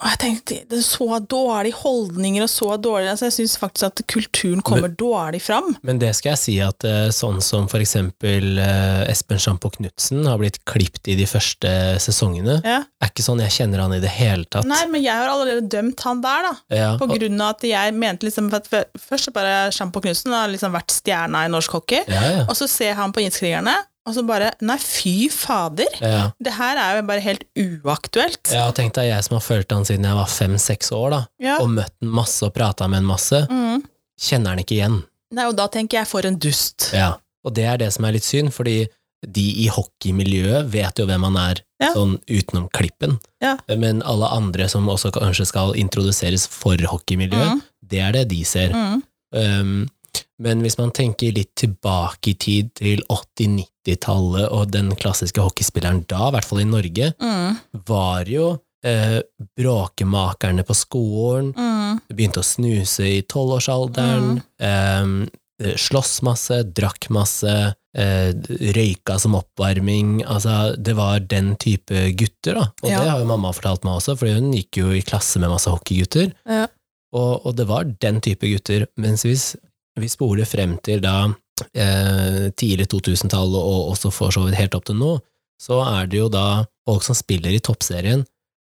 Speaker 2: Og jeg tenkte det er så dårlige holdninger og så dårlig altså, Jeg syns faktisk at kulturen kommer dårlig fram.
Speaker 1: Men det skal jeg si at eh, sånn som for eksempel eh, Espen Sjampo Knutsen har blitt klippet i de første sesongene,
Speaker 2: Ja.
Speaker 1: er ikke sånn jeg kjenner han i det hele tatt.
Speaker 2: Nei, men jeg har allerede dømt han der, da.
Speaker 1: ja,
Speaker 2: På
Speaker 1: og,
Speaker 2: grunn av at jeg mente liksom for at fø- Først så bare Sjampo Knutsen har liksom vært stjerna i norsk hockey,
Speaker 1: ja, ja,
Speaker 2: og så ser han på Iskrigerne, og så bare Nei, fy fader!
Speaker 1: ja.
Speaker 2: Det her er jo bare helt uaktuelt.
Speaker 1: Ja, tenk deg jeg som har fulgt han siden jeg var fem-seks år, da,
Speaker 2: Ja.
Speaker 1: og møtt han masse og prata med han masse,
Speaker 2: Mm.
Speaker 1: kjenner han ikke igjen.
Speaker 2: Nei, og da tenker jeg for en dust.
Speaker 1: Ja, og det er det som er litt synd, fordi de i hockeymiljøet vet jo hvem han er,
Speaker 2: Ja.
Speaker 1: sånn utenom klippen.
Speaker 2: Ja.
Speaker 1: Men alle andre som også kanskje skal introduseres for hockeymiljøet,
Speaker 2: Mhm.
Speaker 1: det er det de ser.
Speaker 2: Mm.
Speaker 1: Um, men hvis man tenker litt tilbake i tid til 80-90-tallet og den klassiske hockeyspilleren da, i hvert fall i Norge,
Speaker 2: Mm.
Speaker 1: var jo eh, bråkemakerne på skolen,
Speaker 2: Mm.
Speaker 1: begynte å snuse i tolvårsalderen, eh, slåss masse, drakk masse, eh, røyka som oppvarming. Altså, det var den type gutter, da. Og
Speaker 2: Ja.
Speaker 1: det har jo mamma fortalt meg også, for hun gikk jo i klasse med masse hockeygutter.
Speaker 2: Ja.
Speaker 1: Og, og det var den type gutter. Mens hvis vi spoler frem til da eh, tidlig 2000-tallet, og også for så vidt helt opp til nå, så er det jo da folk som spiller i toppserien,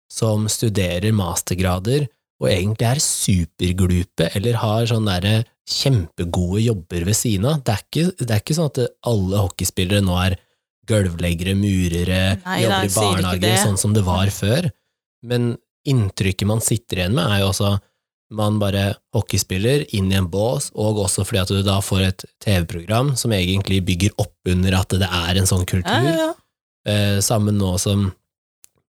Speaker 1: som studerer mastergrader, og egentlig er superglupe, eller har sånne der kjempegode jobber ved siden av. Det er ikke, det er ikke sånn at alle hockeyspillere nå er gulvleggere, murere,
Speaker 2: Nei, nei,
Speaker 1: jobber i
Speaker 2: jeg sier ikke
Speaker 1: barnehager,
Speaker 2: det.
Speaker 1: sånn som det var før. Men inntrykket man sitter igjen med, er jo også man bare hockeyspiller inn i en bås, og også fordi at du da får et TV-program som egentlig bygger opp under at det er en sånn kultur.
Speaker 2: Ja, ja, ja.
Speaker 1: Eh, sammen nå som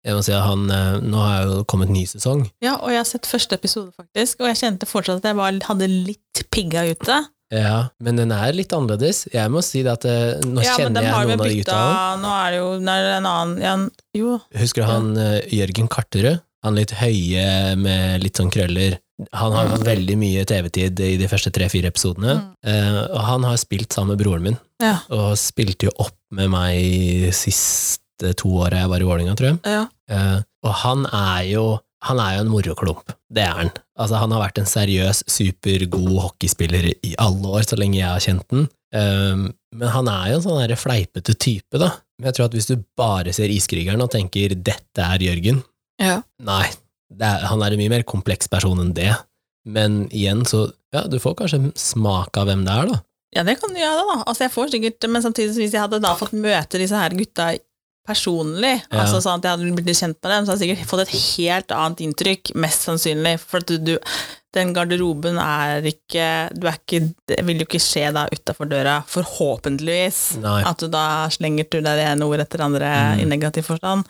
Speaker 1: jeg må si at han, eh, Nå har jo kommet ny sesong.
Speaker 2: ja, og jeg har sett første episode, faktisk, og jeg kjente fortsatt at jeg var, hadde litt pigga ute.
Speaker 1: Ja, men den er litt annerledes. Jeg må si det at eh, nå
Speaker 2: Ja, men
Speaker 1: kjenner
Speaker 2: dem
Speaker 1: jeg
Speaker 2: har
Speaker 1: noen
Speaker 2: vi
Speaker 1: av de
Speaker 2: bytta
Speaker 1: gutta.
Speaker 2: Nå er det jo nå er det en annen ja, en- Jo.
Speaker 1: Husker du han eh, Jørgen Karterød? Han litt høye med litt sånn krøller. Han har fått veldig mye TV-tid i de første tre-fire episodene. Eh, og han har spilt sammen med broren min,
Speaker 2: Ja.
Speaker 1: og spilte jo opp med meg siste to åra jeg var i Vålerenga, tror jeg.
Speaker 2: ja.
Speaker 1: Eh, og han er jo han er jo en moroklump. Det er han. Altså, han har vært en seriøs, supergod hockeyspiller i alle år, så lenge jeg har kjent den. Eh, men han er jo en sånn der fleipete type, da. Men jeg tror at hvis du bare ser Iskrigeren og tenker 'dette er Jørgen',
Speaker 2: Ja.
Speaker 1: nei, det er, han er en mye mer kompleks person enn det. Men igjen, så ja, du får kanskje en smak av hvem det er, da.
Speaker 2: Ja, det kan du gjøre, da. Altså, jeg får sikkert, men samtidig, så hvis jeg hadde da fått møte disse her gutta personlig,
Speaker 1: Ja.
Speaker 2: altså sånn at jeg hadde blitt kjent med dem, så hadde jeg sikkert fått et helt annet inntrykk, mest sannsynlig. For at du, den garderoben er ikke Du er ikke Det vil jo ikke skje da utafor døra, forhåpentligvis.
Speaker 1: Nei. Mm.
Speaker 2: At du da slenger du deg det ene ord etter det andre i negativ forstand.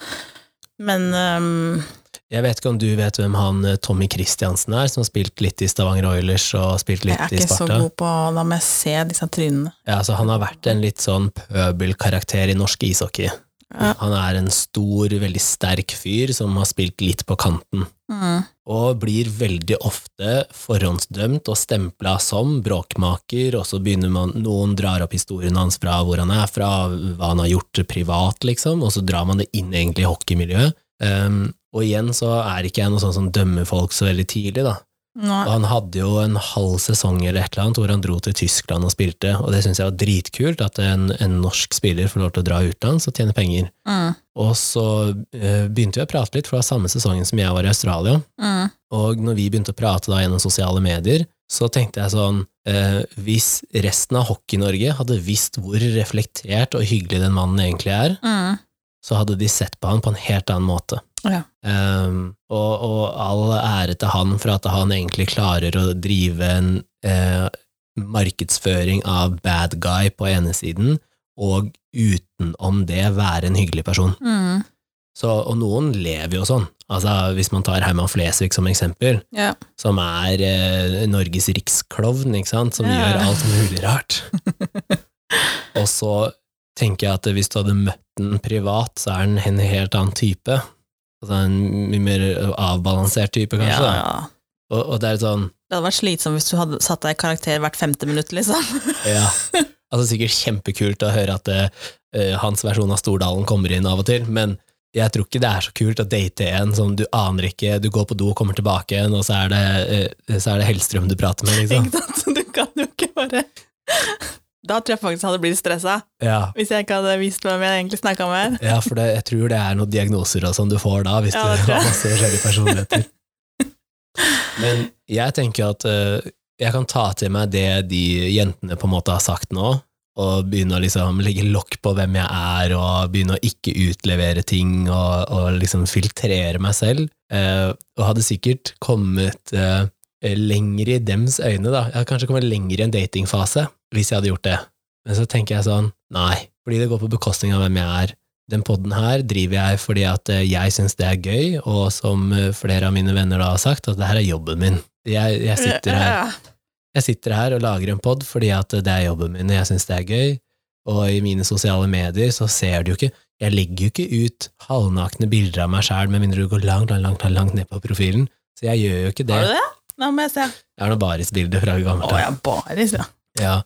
Speaker 2: Men um, øhm,
Speaker 1: Jeg vet ikke om du vet hvem han eh, Tommy Christiansen er, som har spilt litt i Stavanger Oilers og spilt litt
Speaker 2: jeg er
Speaker 1: i
Speaker 2: ikke så
Speaker 1: Sparta?
Speaker 2: god på Da må jeg se disse trynene.
Speaker 1: Ja, altså han har vært en litt sånn pøbelkarakter i norsk ishockey.
Speaker 2: Ja.
Speaker 1: Han er en stor, veldig sterk fyr som har spilt litt på kanten,
Speaker 2: Mm.
Speaker 1: og blir veldig ofte forhåndsdømt og stempla som bråkmaker, og så begynner man, noen drar opp historien hans fra hvor han er fra, hva han har gjort privat, liksom, og så drar man det inn egentlig i hockeymiljøet. Um, og igjen så er ikke jeg noe sånn som dømmer folk så veldig tidlig, da.
Speaker 2: Nå,
Speaker 1: Og han hadde jo en halv sesong eller et eller annet hvor han dro til Tyskland og spilte, og det syns jeg var dritkult at en, en norsk spiller får lov til å dra utenlands og tjene penger.
Speaker 2: mm.
Speaker 1: Og så eh, begynte vi å prate litt, for det var samme sesongen som jeg var i Australia.
Speaker 2: Mm.
Speaker 1: Og når vi begynte å prate da gjennom sosiale medier, så tenkte jeg sånn eh, Hvis resten av Hockey-Norge hadde visst hvor reflektert og hyggelig den mannen egentlig er,
Speaker 2: Mm.
Speaker 1: så hadde de sett på han på en helt annen måte.
Speaker 2: Ja.
Speaker 1: Ehm, og, og all ære til han for at han egentlig klarer å drive en eh, markedsføring av bad guy på ene siden, og utenom det være en hyggelig person.
Speaker 2: Mm.
Speaker 1: Så, og noen lever jo sånn. Altså, hvis man tar Herman Flesvig som eksempel,
Speaker 2: Ja.
Speaker 1: som er eh, Norges riksklovn, ikke sant? som
Speaker 2: Ja.
Speaker 1: gjør alt mulig rart. og så tenker jeg at hvis du hadde møtt den privat, så er den en helt annen type. Altså en mye mer avbalansert type, kanskje.
Speaker 3: Ja,
Speaker 1: da.
Speaker 3: ja.
Speaker 1: Og, og det er litt sånn
Speaker 2: Det hadde vært slitsomt hvis du hadde satt deg i karakter hvert femte minutt, liksom.
Speaker 1: Ja. Altså sikkert kjempekult å høre at eh, hans versjon av Stordalen kommer inn av og til, men jeg tror ikke det er så kult å date en som du aner ikke, du går på do og kommer tilbake igjen, og så er det, eh, så er det Hellstrøm du prater med, liksom.
Speaker 2: Ikke sant? Du kan jo ikke bare Da tror jeg faktisk jeg hadde blitt stressa,
Speaker 1: Ja.
Speaker 2: hvis jeg ikke hadde visst hvem jeg egentlig snakka med.
Speaker 1: Ja, for det, jeg tror det er noen diagnoser og sånn du får da, hvis
Speaker 2: Ja, det
Speaker 1: du
Speaker 2: tror jeg.
Speaker 1: har masse forskjellige personligheter. Men jeg tenker at eh, jeg kan ta til meg det de jentene på en måte har sagt nå, og begynne å liksom legge lokk på hvem jeg er, og begynne å ikke utlevere ting, og, og liksom filtrere meg selv. Eh, og hadde sikkert kommet eh, lenger i dems øyne, da. Jeg hadde kanskje kommet lenger i en datingfase, hvis jeg hadde gjort det. Men så tenker jeg sånn, nei, fordi det går på bekostning av hvem jeg er den podden her driver jeg fordi at eh, jeg syns det er gøy, og som eh, flere av mine venner da har sagt, at det her er jobben min. Jeg, jeg, sitter her, jeg sitter her og lager en pod fordi at eh, det er jobben min, og jeg syns det er gøy. Og i mine sosiale medier så ser du jo ikke Jeg legger jo ikke ut halvnakne bilder av meg sjæl, med mindre du går langt, langt, langt, langt ned på profilen. Så jeg gjør jo ikke det.
Speaker 2: Har du det? Nå må jeg se.
Speaker 1: Det er noe barisbilde fra gammelt
Speaker 3: Å
Speaker 1: av.
Speaker 3: ja, baris, ja.
Speaker 1: Ja.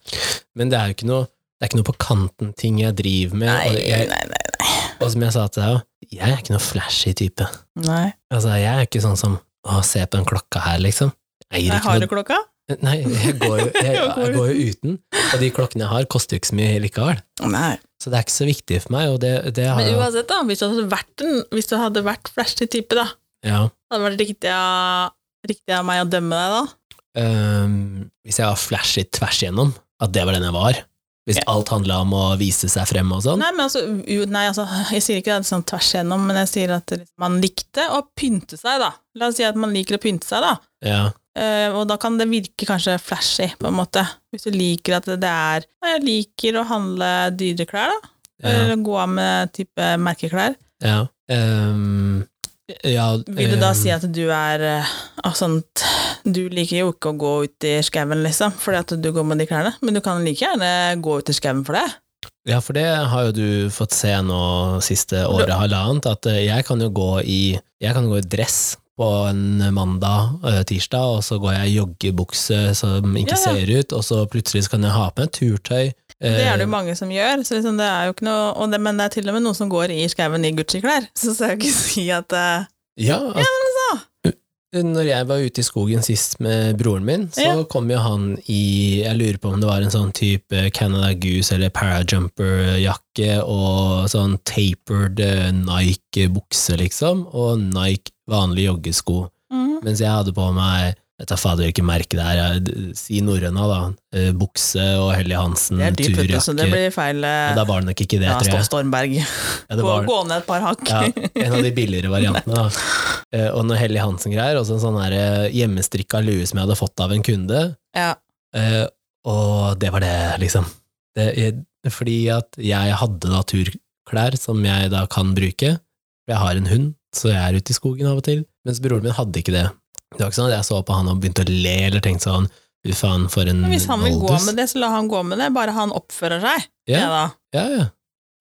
Speaker 1: Men det er jo ikke noe det er ikke noe på kanten-ting jeg driver med.
Speaker 3: Nei,
Speaker 1: og,
Speaker 3: nei,
Speaker 1: jeg,
Speaker 3: nei.
Speaker 1: og som jeg sa til deg, jeg er ikke noe flashy type.
Speaker 3: nei.
Speaker 1: Altså, jeg er ikke sånn som å se på den klokka her, liksom. Jeg eier
Speaker 2: Jeg
Speaker 1: ikke
Speaker 2: har du
Speaker 1: noe
Speaker 2: klokka?
Speaker 1: Nei, jeg går, jo, jeg,
Speaker 2: Jeg går
Speaker 1: jeg går jo uten, og de klokkene jeg har, koster jo ikke så mye likevel.
Speaker 3: nei.
Speaker 1: Så det er ikke så viktig for meg, og det, det har
Speaker 2: Men
Speaker 1: jo
Speaker 2: uansett, da, hvis du hadde vært en Hvis du hadde vært flashy type, da,
Speaker 1: ja.
Speaker 2: hadde det vært riktig av, riktig av meg å dømme deg da?
Speaker 1: Øhm, Ehm, Hvis jeg var flashy tvers igjennom, at det var den jeg var, hvis
Speaker 3: Ja.
Speaker 1: alt handla om å vise seg frem og sånn,
Speaker 2: Nei, men altså, u- nei, altså Jeg sier ikke det sånn tvers igjennom, men jeg sier at det- man likte å pynte seg, da. La oss si at man liker å pynte seg, da.
Speaker 1: ja.
Speaker 2: Eh, og da kan det virke kanskje flashy, på en måte. Hvis du liker at det er Nei, jeg liker å handle dyre klær, da.
Speaker 1: ja,
Speaker 2: Eller gå av med type merkeklær.
Speaker 1: ja. Øhm, ja ehm,
Speaker 2: Vil du da
Speaker 1: øhm,
Speaker 2: si at du er eh, av sånt Du liker jo ikke å gå ut i skauen, liksom, fordi at du går med de klærne, men du kan like gjerne gå ut i skauen for det.
Speaker 1: Ja, for det har jo du fått se nå siste året halvannet, at eh, jeg kan jo gå i, jeg kan gå i dress på en mandag, eh, tirsdag, og så går jeg i joggebukse som ikke
Speaker 2: Ja, ja.
Speaker 1: ser ut, og så plutselig så kan jeg ha på meg turtøy.
Speaker 2: Det er det
Speaker 1: eh,
Speaker 2: jo mange som gjør, så liksom det er jo ikke noe, og det, men det er til og med noen som går i skauen i Gucci-klær, så skal jeg ikke si at eh,
Speaker 1: Ja, altså, Når jeg var ute i skogen sist med broren min, så
Speaker 2: Ja.
Speaker 1: kom jo han i Jeg lurer på om det var en sånn type Canada Goose eller Parajumper-jakke og sånn tapered eh, Nike-bukse, liksom, og Nike vanlige joggesko.
Speaker 2: mm,
Speaker 1: Mens jeg hadde på meg jeg tar fader ikke merke det her, jeg- d- si norrøna, da. eh, Bukse og Helly Hansen,
Speaker 2: Det er dyrt, vet du, så det
Speaker 1: turjakke.
Speaker 2: blir feil
Speaker 1: Ja,
Speaker 2: eh,
Speaker 1: da var Mm, det nok ikke det,
Speaker 2: ja,
Speaker 1: tror
Speaker 2: Stoff
Speaker 1: jeg.
Speaker 2: Stormberg.
Speaker 1: Ja, det
Speaker 2: Gå,
Speaker 1: var,
Speaker 2: gå ned et par hakk.
Speaker 1: ja, en av de billigere variantene, da. Eh, Og noe Helly Hansen-greier, og så en sånn her, eh, hjemmestrikka lue som jeg hadde fått av en kunde.
Speaker 2: Ja.
Speaker 1: Eh, Og det var det, liksom. Det, jeg- fordi at jeg hadde da turklær som jeg da kan bruke. For jeg har en hund, så jeg er ute i skogen av og til. Mens broren min hadde ikke det. Det var ikke sånn at jeg så på han og begynte å le eller tenkte sånn Fy faen, for en
Speaker 2: Men hvis han vil gå
Speaker 1: oldus."
Speaker 2: med det, så la han gå med det, bare han oppfører seg.
Speaker 1: Ja.
Speaker 2: Ja, da.
Speaker 1: Ja, ja.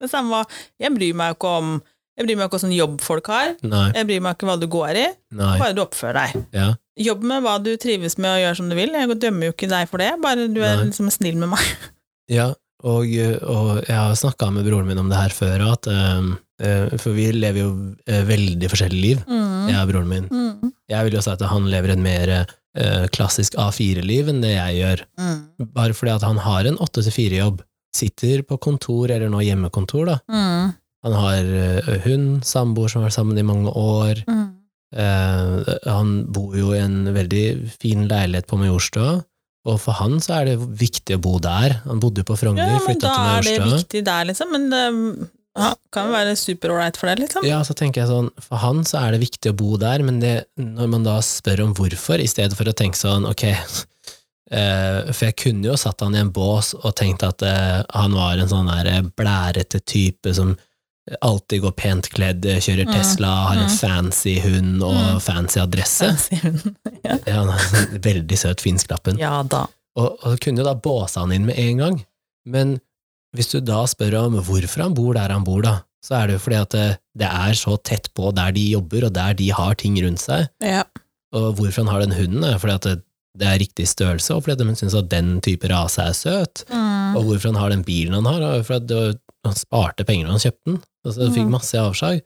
Speaker 2: Det samme var Jeg bryr meg jo ikke om Jeg bryr meg ikke om sånn jobb folk har.
Speaker 1: Nei.
Speaker 2: Jeg bryr meg ikke hva du går i,
Speaker 1: nei.
Speaker 2: bare du oppfører deg.
Speaker 1: Ja.
Speaker 2: Jobb med hva du trives med og gjør som du vil. Jeg dømmer jo ikke deg for det, bare du er
Speaker 1: Nei.
Speaker 2: liksom snill med meg.
Speaker 1: Ja, og, og jeg har snakka med broren min om det her før, at, eh, eh, for vi lever jo eh, veldig forskjellige liv, jeg og broren min.
Speaker 2: Mm.
Speaker 1: Jeg vil jo si at han lever et mer eh, klassisk A4-liv enn det jeg gjør,
Speaker 2: Mm.
Speaker 1: bare fordi at han har en 8-4-jobb. Sitter på kontor, eller nå hjemmekontor, da.
Speaker 2: Mm.
Speaker 1: Han har eh, hund, samboer som har vært sammen i mange år.
Speaker 2: Mm.
Speaker 1: Eh, han bor jo i en veldig fin leilighet på Majorstua, og for han så er det viktig å bo der. Han bodde jo på
Speaker 2: Ja,
Speaker 1: Frogner,
Speaker 2: men
Speaker 1: flytta til
Speaker 2: da er det
Speaker 1: Majorstua.
Speaker 2: viktig der, liksom. Men det ja, kan jo være superålreit for deg, liksom.
Speaker 1: Ja, så tenker jeg sånn, for han så er det viktig å bo der, men det, når man da spør om hvorfor, i stedet for å tenke sånn, ok, eh, for jeg kunne jo satt han i en bås og tenkt at eh, han var en sånn der eh, blærete type som alltid går pent kledd, eh, kjører
Speaker 2: Mm,
Speaker 1: Tesla, har en
Speaker 2: mm.
Speaker 1: fancy hund og
Speaker 2: Mm.
Speaker 1: fancy adresse.
Speaker 2: sier hun.
Speaker 1: Ja, han er en veldig søt finsknappen.
Speaker 2: Ja da.
Speaker 1: Og, og kunne jo da båse han inn med en gang, men Hvis du da spør om hvorfor han bor der han bor, da, så er det jo fordi at det, det er så tett på der de jobber, og der de har ting rundt seg.
Speaker 4: Ja.
Speaker 1: Og hvorfor han har den hunden, er fordi at det, det er riktig størrelse, og fordi at de syns at den type rase er søt.
Speaker 2: Mm.
Speaker 1: Og hvorfor han har den bilen han har, er fordi at det, var- han sparte penger da han kjøpte den, og så fikk
Speaker 4: Mm.
Speaker 1: masse avslag.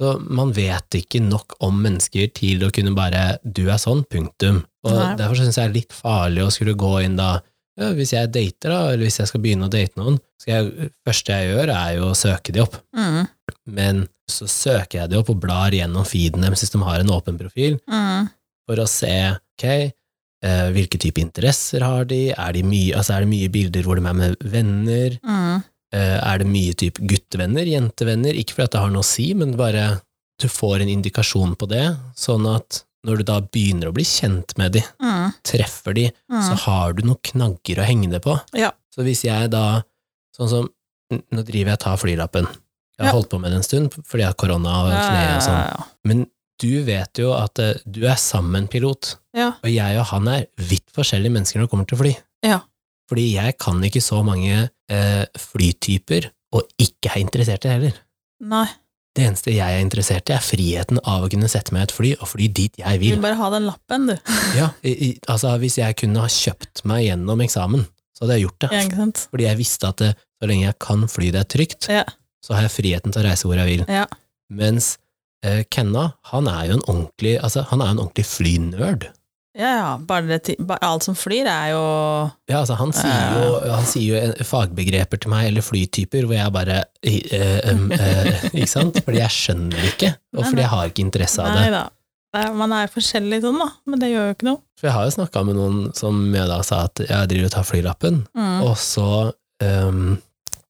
Speaker 1: Så man vet ikke nok om mennesker til å kunne bare 'du er sånn', punktum. Og
Speaker 2: Nei.
Speaker 1: derfor syns jeg det er litt farlig å skulle gå inn da ja, Hvis jeg dater, da, eller hvis jeg skal begynne å date noen, skal jeg, første jeg gjør, er jo å søke de opp.
Speaker 2: Mm.
Speaker 1: Men så søker jeg de opp og blar gjennom feeden deres hvis de har en åpen profil,
Speaker 2: Mm.
Speaker 1: for å se ok, eh, hvilke type interesser har de, er, de mye, altså er det mye bilder hvor de er med venner,
Speaker 2: Mm.
Speaker 1: eh, er det mye type guttevenner, jentevenner, ikke fordi at det har noe å si, men bare du får en indikasjon på det, sånn at når du da begynner å bli kjent med de,
Speaker 2: Mm.
Speaker 1: treffer de, så
Speaker 2: Mm.
Speaker 1: har du noen knagger å henge det på.
Speaker 2: Ja.
Speaker 1: Så hvis jeg da, sånn som, n- nå driver jeg og tar flylappen. Jeg har
Speaker 2: Ja.
Speaker 1: holdt på med det en stund, fordi jeg har korona og
Speaker 2: Ja,
Speaker 1: kne og sånn.
Speaker 2: ja, ja.
Speaker 1: Men du vet jo at eh, du er sammen pilot,
Speaker 2: Ja.
Speaker 1: og jeg og han er vidt forskjellige mennesker når det kommer til fly.
Speaker 2: Ja.
Speaker 1: Fordi jeg kan ikke så mange eh, flytyper, og ikke er interessert i heller.
Speaker 2: Nei.
Speaker 1: Det eneste jeg er interessert i er friheten av å kunne sette meg i et fly og fly dit jeg
Speaker 2: Du
Speaker 1: vil.
Speaker 2: vil bare ha den lappen, du.
Speaker 1: Ja, i, i, altså Hvis jeg kunne ha kjøpt meg gjennom eksamen, så hadde jeg gjort det.
Speaker 2: Ja, ikke sant?
Speaker 1: Fordi jeg visste at det, så lenge jeg kan fly det trygt,
Speaker 2: Ja.
Speaker 1: så har jeg friheten til å reise hvor jeg vil.
Speaker 2: Ja.
Speaker 1: Mens eh, Kenna, han er jo en ordentlig, altså, han er jo en ordentlig flynerd.
Speaker 2: Ja, ja. Bare det, ti- bare alt som flyr, er jo
Speaker 1: Ja, altså, han, sier jo, han sier jo en- fagbegreper til meg, eller flytyper, hvor jeg bare i- eh, em, eh, Ikke sant? Fordi jeg skjønner ikke, og
Speaker 2: Nei,
Speaker 1: fordi
Speaker 2: nei.
Speaker 1: jeg har ikke interesse av det.
Speaker 2: Nei da. Nei, Man er forskjellig sånn, da. Men det gjør jo ikke noe.
Speaker 1: For jeg har jo snakka med noen som jeg da sa at jeg driver og tar flylappen,
Speaker 2: Mm.
Speaker 1: og så ehm,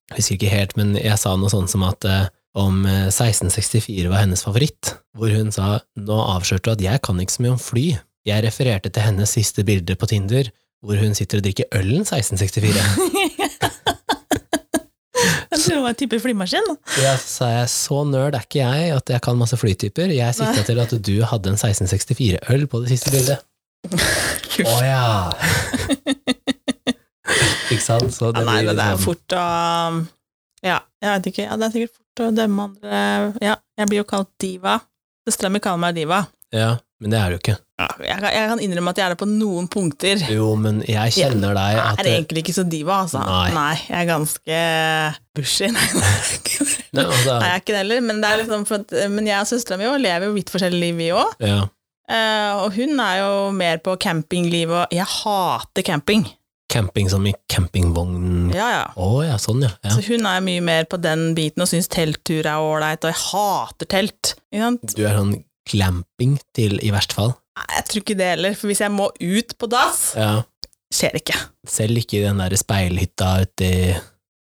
Speaker 1: Jeg husker ikke helt, men jeg sa noe sånt som at eh, om eh, 1664 var hennes favoritt, hvor hun sa nå avslørte du at jeg kan ikke så mye om fly. Jeg refererte til hennes siste bilde på Tinder, hvor hun sitter og drikker ølen 1664.
Speaker 2: jeg tror det var en type flymaskin. da.
Speaker 1: Ja, så sa jeg så nerd er ikke jeg at jeg kan masse flytyper. Jeg sikta
Speaker 2: Nei.
Speaker 1: til at du hadde en 1664-øl på det siste bildet. Å ja! ikke sant? Så
Speaker 2: Ja,
Speaker 1: det
Speaker 2: nei,
Speaker 1: blir
Speaker 2: men det er
Speaker 1: liksom-
Speaker 2: fort å Ja, jeg vet ikke. Ja, det er sikkert fort å dømme andre Ja, jeg blir jo kalt diva. Søstera mi kaller meg diva.
Speaker 1: Ja, men det er du ikke.
Speaker 2: Jeg kan, jeg kan innrømme at jeg er det på noen punkter.
Speaker 1: Jo, men jeg kjenner deg
Speaker 2: Jeg
Speaker 1: at
Speaker 2: er egentlig ikke så diva, altså.
Speaker 1: Nei.
Speaker 2: jeg er ganske bushy. Nei, nei,
Speaker 1: Nei, altså,
Speaker 2: jeg er ikke det heller. Men, det er liksom for at, men jeg og søstera mi også lever jo vidt forskjellige liv, vi òg.
Speaker 1: ja.
Speaker 2: Eh, og hun er jo mer på campinglivet, og jeg hater camping.
Speaker 1: Camping som i campingvogn.
Speaker 2: Ja, ja.
Speaker 1: Å ja, sånn ja. ja.
Speaker 2: Så hun er mye mer på den biten og syns telttur er ålreit, og jeg hater telt. Ikke sant?
Speaker 1: Du er sånn glamping til i verste fall.
Speaker 2: Nei, jeg tror ikke det heller, for hvis jeg må ut på dass,
Speaker 1: Ja.
Speaker 2: skjer det ikke.
Speaker 1: Selv ikke i den der speilhytta uti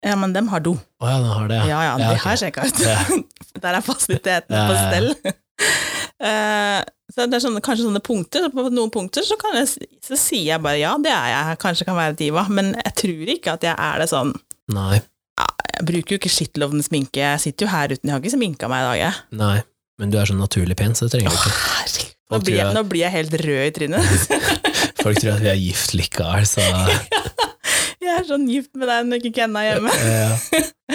Speaker 2: Ja, men dem har do.
Speaker 1: Å ja, den har det,
Speaker 2: Ja, ja, det
Speaker 1: ok.
Speaker 2: har jeg sjekka ut.
Speaker 1: Ja.
Speaker 2: Der er fasiliteten
Speaker 1: Ja,
Speaker 2: på
Speaker 1: ja, ja.
Speaker 2: stell. Eh, så det er sånne, kanskje sånne punkter, på noen punkter så, kan jeg, si- så sier jeg bare ja, det er jeg, jeg kanskje kan være diva, men jeg tror ikke at jeg er det sånn.
Speaker 1: Nei.
Speaker 2: Jeg bruker jo ikke shitloven sminke, jeg sitter jo her uten, jeg har ikke sminka meg i dag, jeg.
Speaker 1: Nei. Men du er sånn naturlig pen, så det trenger du ikke.
Speaker 2: Herregud. Nå
Speaker 1: Folk
Speaker 2: blir,
Speaker 1: tror
Speaker 2: jeg,
Speaker 1: jeg-
Speaker 2: nå blir jeg helt rød i trynet.
Speaker 1: Folk tror at vi er gift likevel, så
Speaker 2: Jeg er sånn gift med deg når ikke Kenna er hjemme.
Speaker 1: Ja.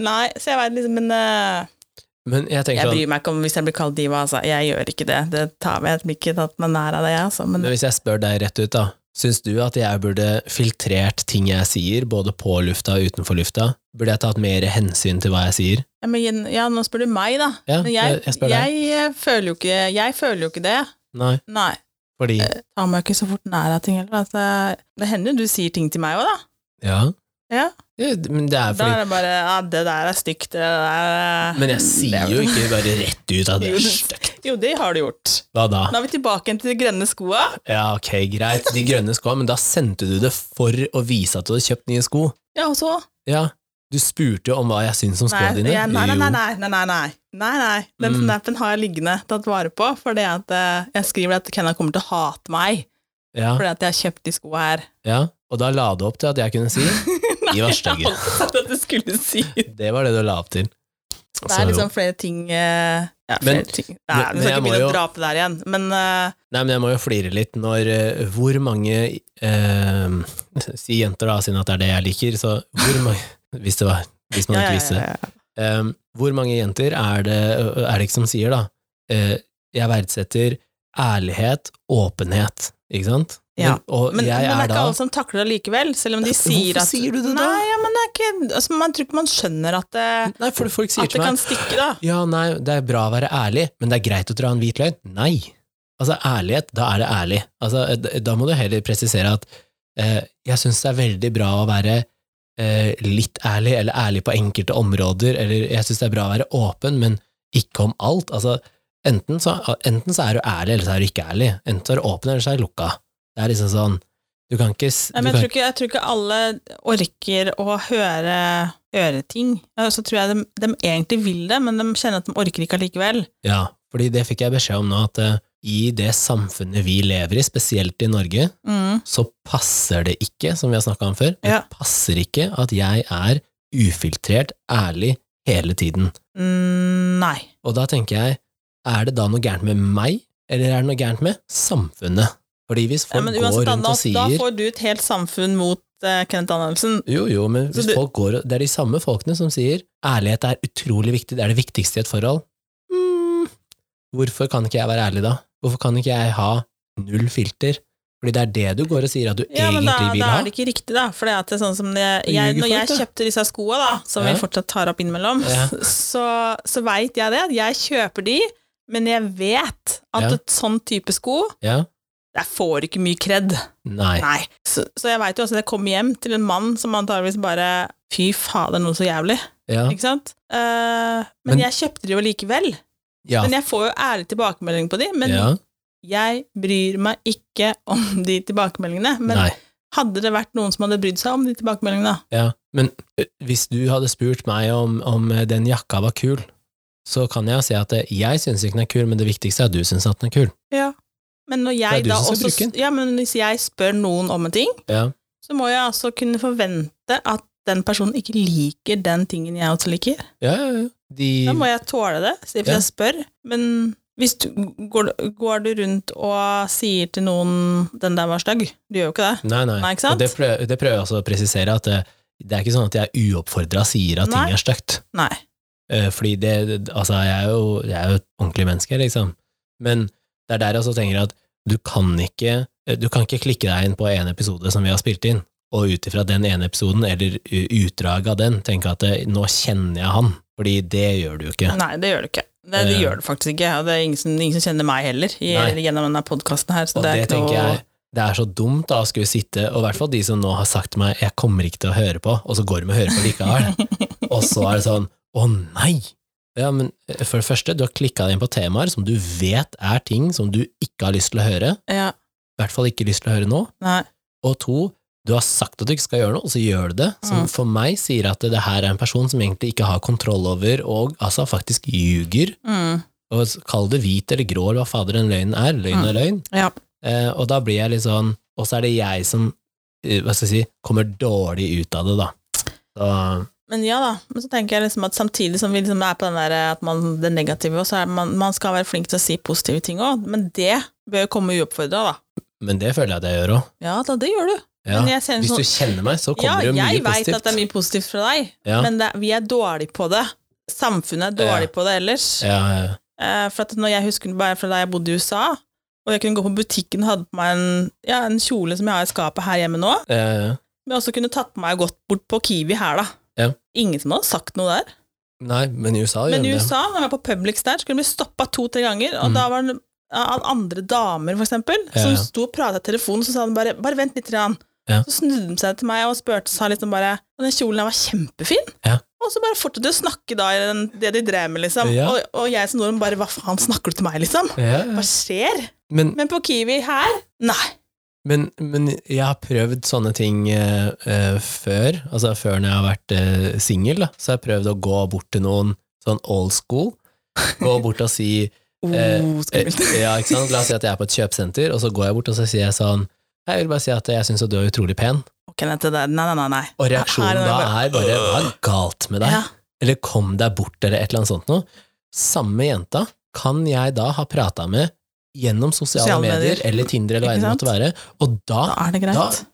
Speaker 2: Nei, så jeg vet liksom, men eh,
Speaker 1: Men jeg
Speaker 2: jeg
Speaker 1: tenker sånn
Speaker 2: bryr meg ikke om hvis jeg blir kalt diva, altså. Jeg gjør ikke det. Det tar meg, jeg blir ikke tatt meg nær av det, jeg, altså. Men
Speaker 1: Men hvis jeg spør deg rett ut, da. Syns du at jeg burde filtrert ting jeg sier, både på lufta og utenfor lufta? Burde jeg tatt mer hensyn til hva jeg sier?
Speaker 2: Ja, men, igjen- ja, nå spør du meg, da.
Speaker 1: Ja,
Speaker 2: Men jeg,
Speaker 1: jeg, jeg spør deg.
Speaker 2: jeg, eh, føler jo ikke, jeg føler jo ikke det.
Speaker 1: Nei,
Speaker 2: Nei.
Speaker 1: fordi
Speaker 2: Tar meg ikke så fort nær av ting heller. Altså, det hender jo du sier ting til meg òg, da.
Speaker 1: Ja.
Speaker 2: Ja.
Speaker 1: Ja, Men det er
Speaker 2: Da
Speaker 1: fordi
Speaker 2: er det bare ja, 'det der er stygt', det der er-
Speaker 1: Men jeg sier jo ikke bare rett ut at det
Speaker 2: Jo,
Speaker 1: er
Speaker 2: det-
Speaker 1: stygt.
Speaker 2: Jo, det har du gjort.
Speaker 1: Hva da?
Speaker 2: Da er vi tilbake igjen til de grønne skoa.
Speaker 1: Ja, ok, greit, de grønne skoa, men da sendte du det for å vise at du hadde kjøpt nye sko.
Speaker 2: Ja, og så
Speaker 1: Ja. Du spurte jo om hva jeg syns om skoene
Speaker 2: Nei,
Speaker 1: dine.
Speaker 2: ja, nei, nei, nei,
Speaker 1: Jo.
Speaker 2: nei, nei, nei, nei, nei, nei. Den
Speaker 1: Mm.
Speaker 2: snappen har jeg liggende tatt vare på, fordi at eh, jeg skriver at Kenna kommer til å hate meg,
Speaker 1: Ja,
Speaker 2: fordi at jeg har kjøpt de skoa her.
Speaker 1: ja. Og da la du opp til at jeg kunne si
Speaker 2: Nei,
Speaker 1: De var
Speaker 2: jeg
Speaker 1: stygge.
Speaker 2: har alltid sagt at du skulle si det.
Speaker 1: Det var det du la opp til.
Speaker 2: Det
Speaker 1: Så
Speaker 2: er
Speaker 1: Altså, jo.
Speaker 2: liksom flere ting eh, Ja, flere
Speaker 1: Men-
Speaker 2: ting. Nei,
Speaker 1: men-
Speaker 2: vi
Speaker 1: men
Speaker 2: skal
Speaker 1: jeg
Speaker 2: ikke
Speaker 1: må
Speaker 2: begynne
Speaker 1: jo-
Speaker 2: å dra på det her igjen, men eh,
Speaker 1: Nei, men jeg må jo flire litt når eh, Hvor mange eh, Si jenter, da, siden at det er det jeg liker. Så hvor mange, Hvis, det var, hvis man ikke visste det. Ehm, hvor mange jenter er det, er det ikke som sier, da? eh, jeg verdsetter ærlighet, åpenhet, ikke sant?
Speaker 2: Ja.
Speaker 1: Men, og
Speaker 2: Men, men det
Speaker 1: jeg
Speaker 2: er
Speaker 1: er
Speaker 2: ikke
Speaker 1: da
Speaker 2: alle som takler det likevel, selv om de
Speaker 1: Hvorfor
Speaker 2: sier at
Speaker 1: sier du det da?
Speaker 2: Nei, ja, men det er ikke, altså, man tror ikke man skjønner at det,
Speaker 1: Nei, for folk sier
Speaker 2: at
Speaker 1: til
Speaker 2: det
Speaker 1: meg
Speaker 2: kan stikke, da.
Speaker 1: Ja, nei, det er bra å være ærlig, men det er greit å dra en hvit løgn. Nei. Altså, ærlighet, da er det ærlig. Altså, d- da må du heller presisere at eh, jeg syns det er veldig bra å være eh, litt ærlig, eller ærlig på enkelte områder, eller jeg syns det er bra å være åpen, men ikke om alt. Altså, enten så, enten så er du ærlig, eller så er du ikke ærlig. Enten så er du åpen, eller så er du lukka. Det er liksom sånn Du kan ikke s-
Speaker 2: Nei,
Speaker 1: du
Speaker 2: men
Speaker 1: kan
Speaker 2: jeg tror, ikke, jeg tror ikke alle orker å høre, høre ting. Og så tror jeg de, de egentlig vil det, men de kjenner at de orker ikke allikevel.
Speaker 1: Ja, fordi det fikk jeg beskjed om nå, at eh, i det samfunnet vi lever i, spesielt i Norge,
Speaker 2: Mm.
Speaker 1: så passer det ikke, som vi har snakka om før, det
Speaker 2: Ja.
Speaker 1: passer ikke at jeg er ufiltrert ærlig hele tiden.
Speaker 2: Mm, nei.
Speaker 1: Og da tenker jeg, er det da noe gærent med meg, eller er det noe gærent med samfunnet? Fordi hvis
Speaker 2: Ja,
Speaker 1: folk
Speaker 2: men
Speaker 1: går
Speaker 2: uansett,
Speaker 1: rundt
Speaker 2: da,
Speaker 1: og
Speaker 2: da
Speaker 1: sier
Speaker 2: får du et helt samfunn mot eh, Kenneth Anelsen.
Speaker 1: jo, jo, men
Speaker 2: Så
Speaker 1: hvis
Speaker 2: du-
Speaker 1: folk går, og- Det er de samme folkene som sier ærlighet er utrolig viktig, det er det viktigste i et forhold. Mm. Hvorfor kan ikke jeg være ærlig da? Hvorfor kan ikke jeg ha null filter? Fordi det er det du går og sier at du
Speaker 2: Ja, men
Speaker 1: egentlig
Speaker 2: da,
Speaker 1: vil
Speaker 2: da
Speaker 1: ha.
Speaker 2: er det ikke riktig, da. For det at det er sånn som det,
Speaker 1: Det
Speaker 2: jeg,
Speaker 1: ljuger
Speaker 2: Når jeg
Speaker 1: folk, da.
Speaker 2: kjøpte disse skoa, da, som
Speaker 1: Ja.
Speaker 2: vi fortsatt tar opp innimellom,
Speaker 1: Ja.
Speaker 2: så, så veit jeg det. at Jeg kjøper de, men jeg vet at
Speaker 1: Ja.
Speaker 2: et sånn type sko
Speaker 1: Ja?
Speaker 2: der får du ikke mye kred.
Speaker 1: Nei.
Speaker 2: Nei. Så, så jeg veit jo også at jeg kom hjem til en mann som antageligvis bare Fy fader, noe så jævlig.
Speaker 1: Ja.
Speaker 2: Ikke sant? Eh, men,
Speaker 1: Men-
Speaker 2: jeg kjøpte de jo likevel.
Speaker 1: ja.
Speaker 2: Men jeg får jo ærlig tilbakemelding på de. Men
Speaker 1: ja.
Speaker 2: jeg bryr meg ikke om de tilbakemeldingene. Men
Speaker 1: Nei.
Speaker 2: hadde det vært noen som hadde brydd seg om de tilbakemeldingene, da?
Speaker 1: Ja, men ø, hvis du hadde spurt meg om, om den jakka var kul, så kan jeg si at ø, jeg syns ikke den er kul, men det viktigste er at du syns at den er kul.
Speaker 2: Men når
Speaker 1: Det er
Speaker 2: jeg
Speaker 1: du
Speaker 2: da
Speaker 1: som skal
Speaker 2: også
Speaker 1: bruke den.
Speaker 2: Ja, men hvis jeg spør noen om en ting,
Speaker 1: Ja,
Speaker 2: så må jeg altså kunne forvente at den personen ikke liker den tingen jeg også liker.
Speaker 1: ja, ja. ja. De,
Speaker 2: Da må jeg tåle det, så hvis
Speaker 1: Ja.
Speaker 2: jeg spør. Men hvis du, går, går du rundt og sier til noen 'den der var stygg', du gjør jo ikke det.
Speaker 1: nei, nei.
Speaker 2: Nei, ikke sant?
Speaker 1: Og det, prøver, det prøver jeg også å presisere, at ø, det er ikke sånn at jeg uoppfordra sier at
Speaker 2: Nei.
Speaker 1: ting er stygt.
Speaker 2: Nei.
Speaker 1: Eh, Fordi det, det- altså, jeg er jo, jeg er jo et ordentlig menneske, liksom. Men det er der jeg også tenker at du kan ikke, ø, du kan ikke klikke deg inn på en episode som vi har spilt inn, og ut ifra den ene episoden, eller ø, utdraget av den, tenke at ø, nå kjenner jeg han. Fordi det gjør du jo ikke.
Speaker 2: Nei, det gjør du ikke. Det, det
Speaker 1: Eh.
Speaker 2: gjør du faktisk ikke, og det er ingen som, ingen som kjenner meg heller i,
Speaker 1: Nei.
Speaker 2: gjennom denne podkasten her. Så
Speaker 1: Og
Speaker 2: det
Speaker 1: det,
Speaker 2: er ikke
Speaker 1: tenker
Speaker 2: noe
Speaker 1: jeg det er så dumt da å skulle sitte, og i hvert fall de som nå har sagt til meg 'jeg kommer ikke til å høre på', og så går de og hører på likevel. og så er det sånn 'å nei'. Ja, men eh, for det første, du har klikka deg inn på temaer som du vet er ting som du ikke har lyst til å høre,
Speaker 2: ja,
Speaker 1: i hvert fall ikke lyst til å høre nå.
Speaker 2: nei.
Speaker 1: Og to, du har sagt at du ikke skal gjøre noe, og så gjør du det. Som
Speaker 2: Mm.
Speaker 1: for meg sier at det her er en person som egentlig ikke har kontroll over, og altså faktisk ljuger.
Speaker 2: Mm,
Speaker 1: Og s- kall det hvit eller grå, eller hva fader den løgnen er. Løgn
Speaker 2: Mm.
Speaker 1: er løgn.
Speaker 2: ja.
Speaker 1: Eh, og da blir jeg litt sånn Og så er det jeg som eh, hva skal jeg si, kommer dårlig ut av det, da. Så,
Speaker 2: Men ja da, men så tenker jeg liksom at samtidig som vi liksom er på den der at man, det negative, også, så er man, man skal være flink til å si positive ting òg, men det bør jo komme uoppfordra, da.
Speaker 1: men det føler jeg at jeg gjør òg.
Speaker 2: Ja da, det gjør du.
Speaker 1: Ja.
Speaker 2: Men jeg ser en
Speaker 1: Hvis du
Speaker 2: sånn
Speaker 1: kjenner meg, så
Speaker 2: Ja,
Speaker 1: kommer det jo mye
Speaker 2: jeg veit at
Speaker 1: positivt.
Speaker 2: det er mye positivt fra deg,
Speaker 1: ja.
Speaker 2: men det, vi er dårlige på det. Samfunnet er dårlig på det ellers.
Speaker 1: Ja, ja, ja.
Speaker 2: Eh, for at når jeg husker bare fra da jeg bodde i USA, og jeg kunne gå på butikken og hadde på meg en, ja, en kjole som jeg har i skapet her hjemme nå,
Speaker 1: Ja, ja, ja.
Speaker 2: men jeg også kunne tatt på meg og gått bort på Kiwi her, da.
Speaker 1: Ja.
Speaker 2: Ingen som hadde sagt noe der.
Speaker 1: Nei, men i USA gjør
Speaker 2: Men i
Speaker 1: det.
Speaker 2: USA, når jeg var på Publix der, skulle de bli stoppa to-tre ganger, og
Speaker 1: Mm.
Speaker 2: da var det av andre damer, for eksempel,
Speaker 1: Ja,
Speaker 2: som
Speaker 1: ja.
Speaker 2: sto og prata i telefonen, så sa de bare 'bare vent litt', grann.
Speaker 1: Ja.
Speaker 2: så snudde de seg til meg og spurte sa liksom bare 'den kjolen her var kjempefin',
Speaker 1: Ja.
Speaker 2: og så bare fortsatte de å snakke da i den, det de drev med, liksom,
Speaker 1: Ja.
Speaker 2: og, og jeg som nordmann bare 'hva faen snakker du til meg', liksom?
Speaker 1: Ja, ja.
Speaker 2: Hva skjer?
Speaker 1: Men,
Speaker 2: Men på Kiwi her? Nei.
Speaker 1: men, men jeg har prøvd sånne ting eh, eh, før, altså før når jeg har vært eh, singel, da, så har jeg prøvd å gå bort til noen sånn old school, gå bort og si
Speaker 2: Oh,
Speaker 1: Eh,
Speaker 2: skummelt.
Speaker 1: Eh, Ja, ikke sant? La oss si at jeg er på et kjøpesenter, og så går jeg bort og så sier jeg sånn «Hei, Jeg vil bare si at jeg syns du er utrolig pen.
Speaker 2: Ok, nei, det der- nei, nei, nei. nei.
Speaker 1: Og reaksjonen
Speaker 2: Her er det
Speaker 1: da
Speaker 2: bare-
Speaker 1: er bare hva er galt med deg?
Speaker 2: Ja.
Speaker 1: Eller kom deg bort, eller et eller annet sånt noe. Samme jenta kan jeg da ha prata med gjennom sosiale
Speaker 2: Sosiale medier.
Speaker 1: medier eller Tinder eller hva
Speaker 2: Ikke
Speaker 1: enn det måtte være, og da,
Speaker 2: Da er det greit.
Speaker 1: da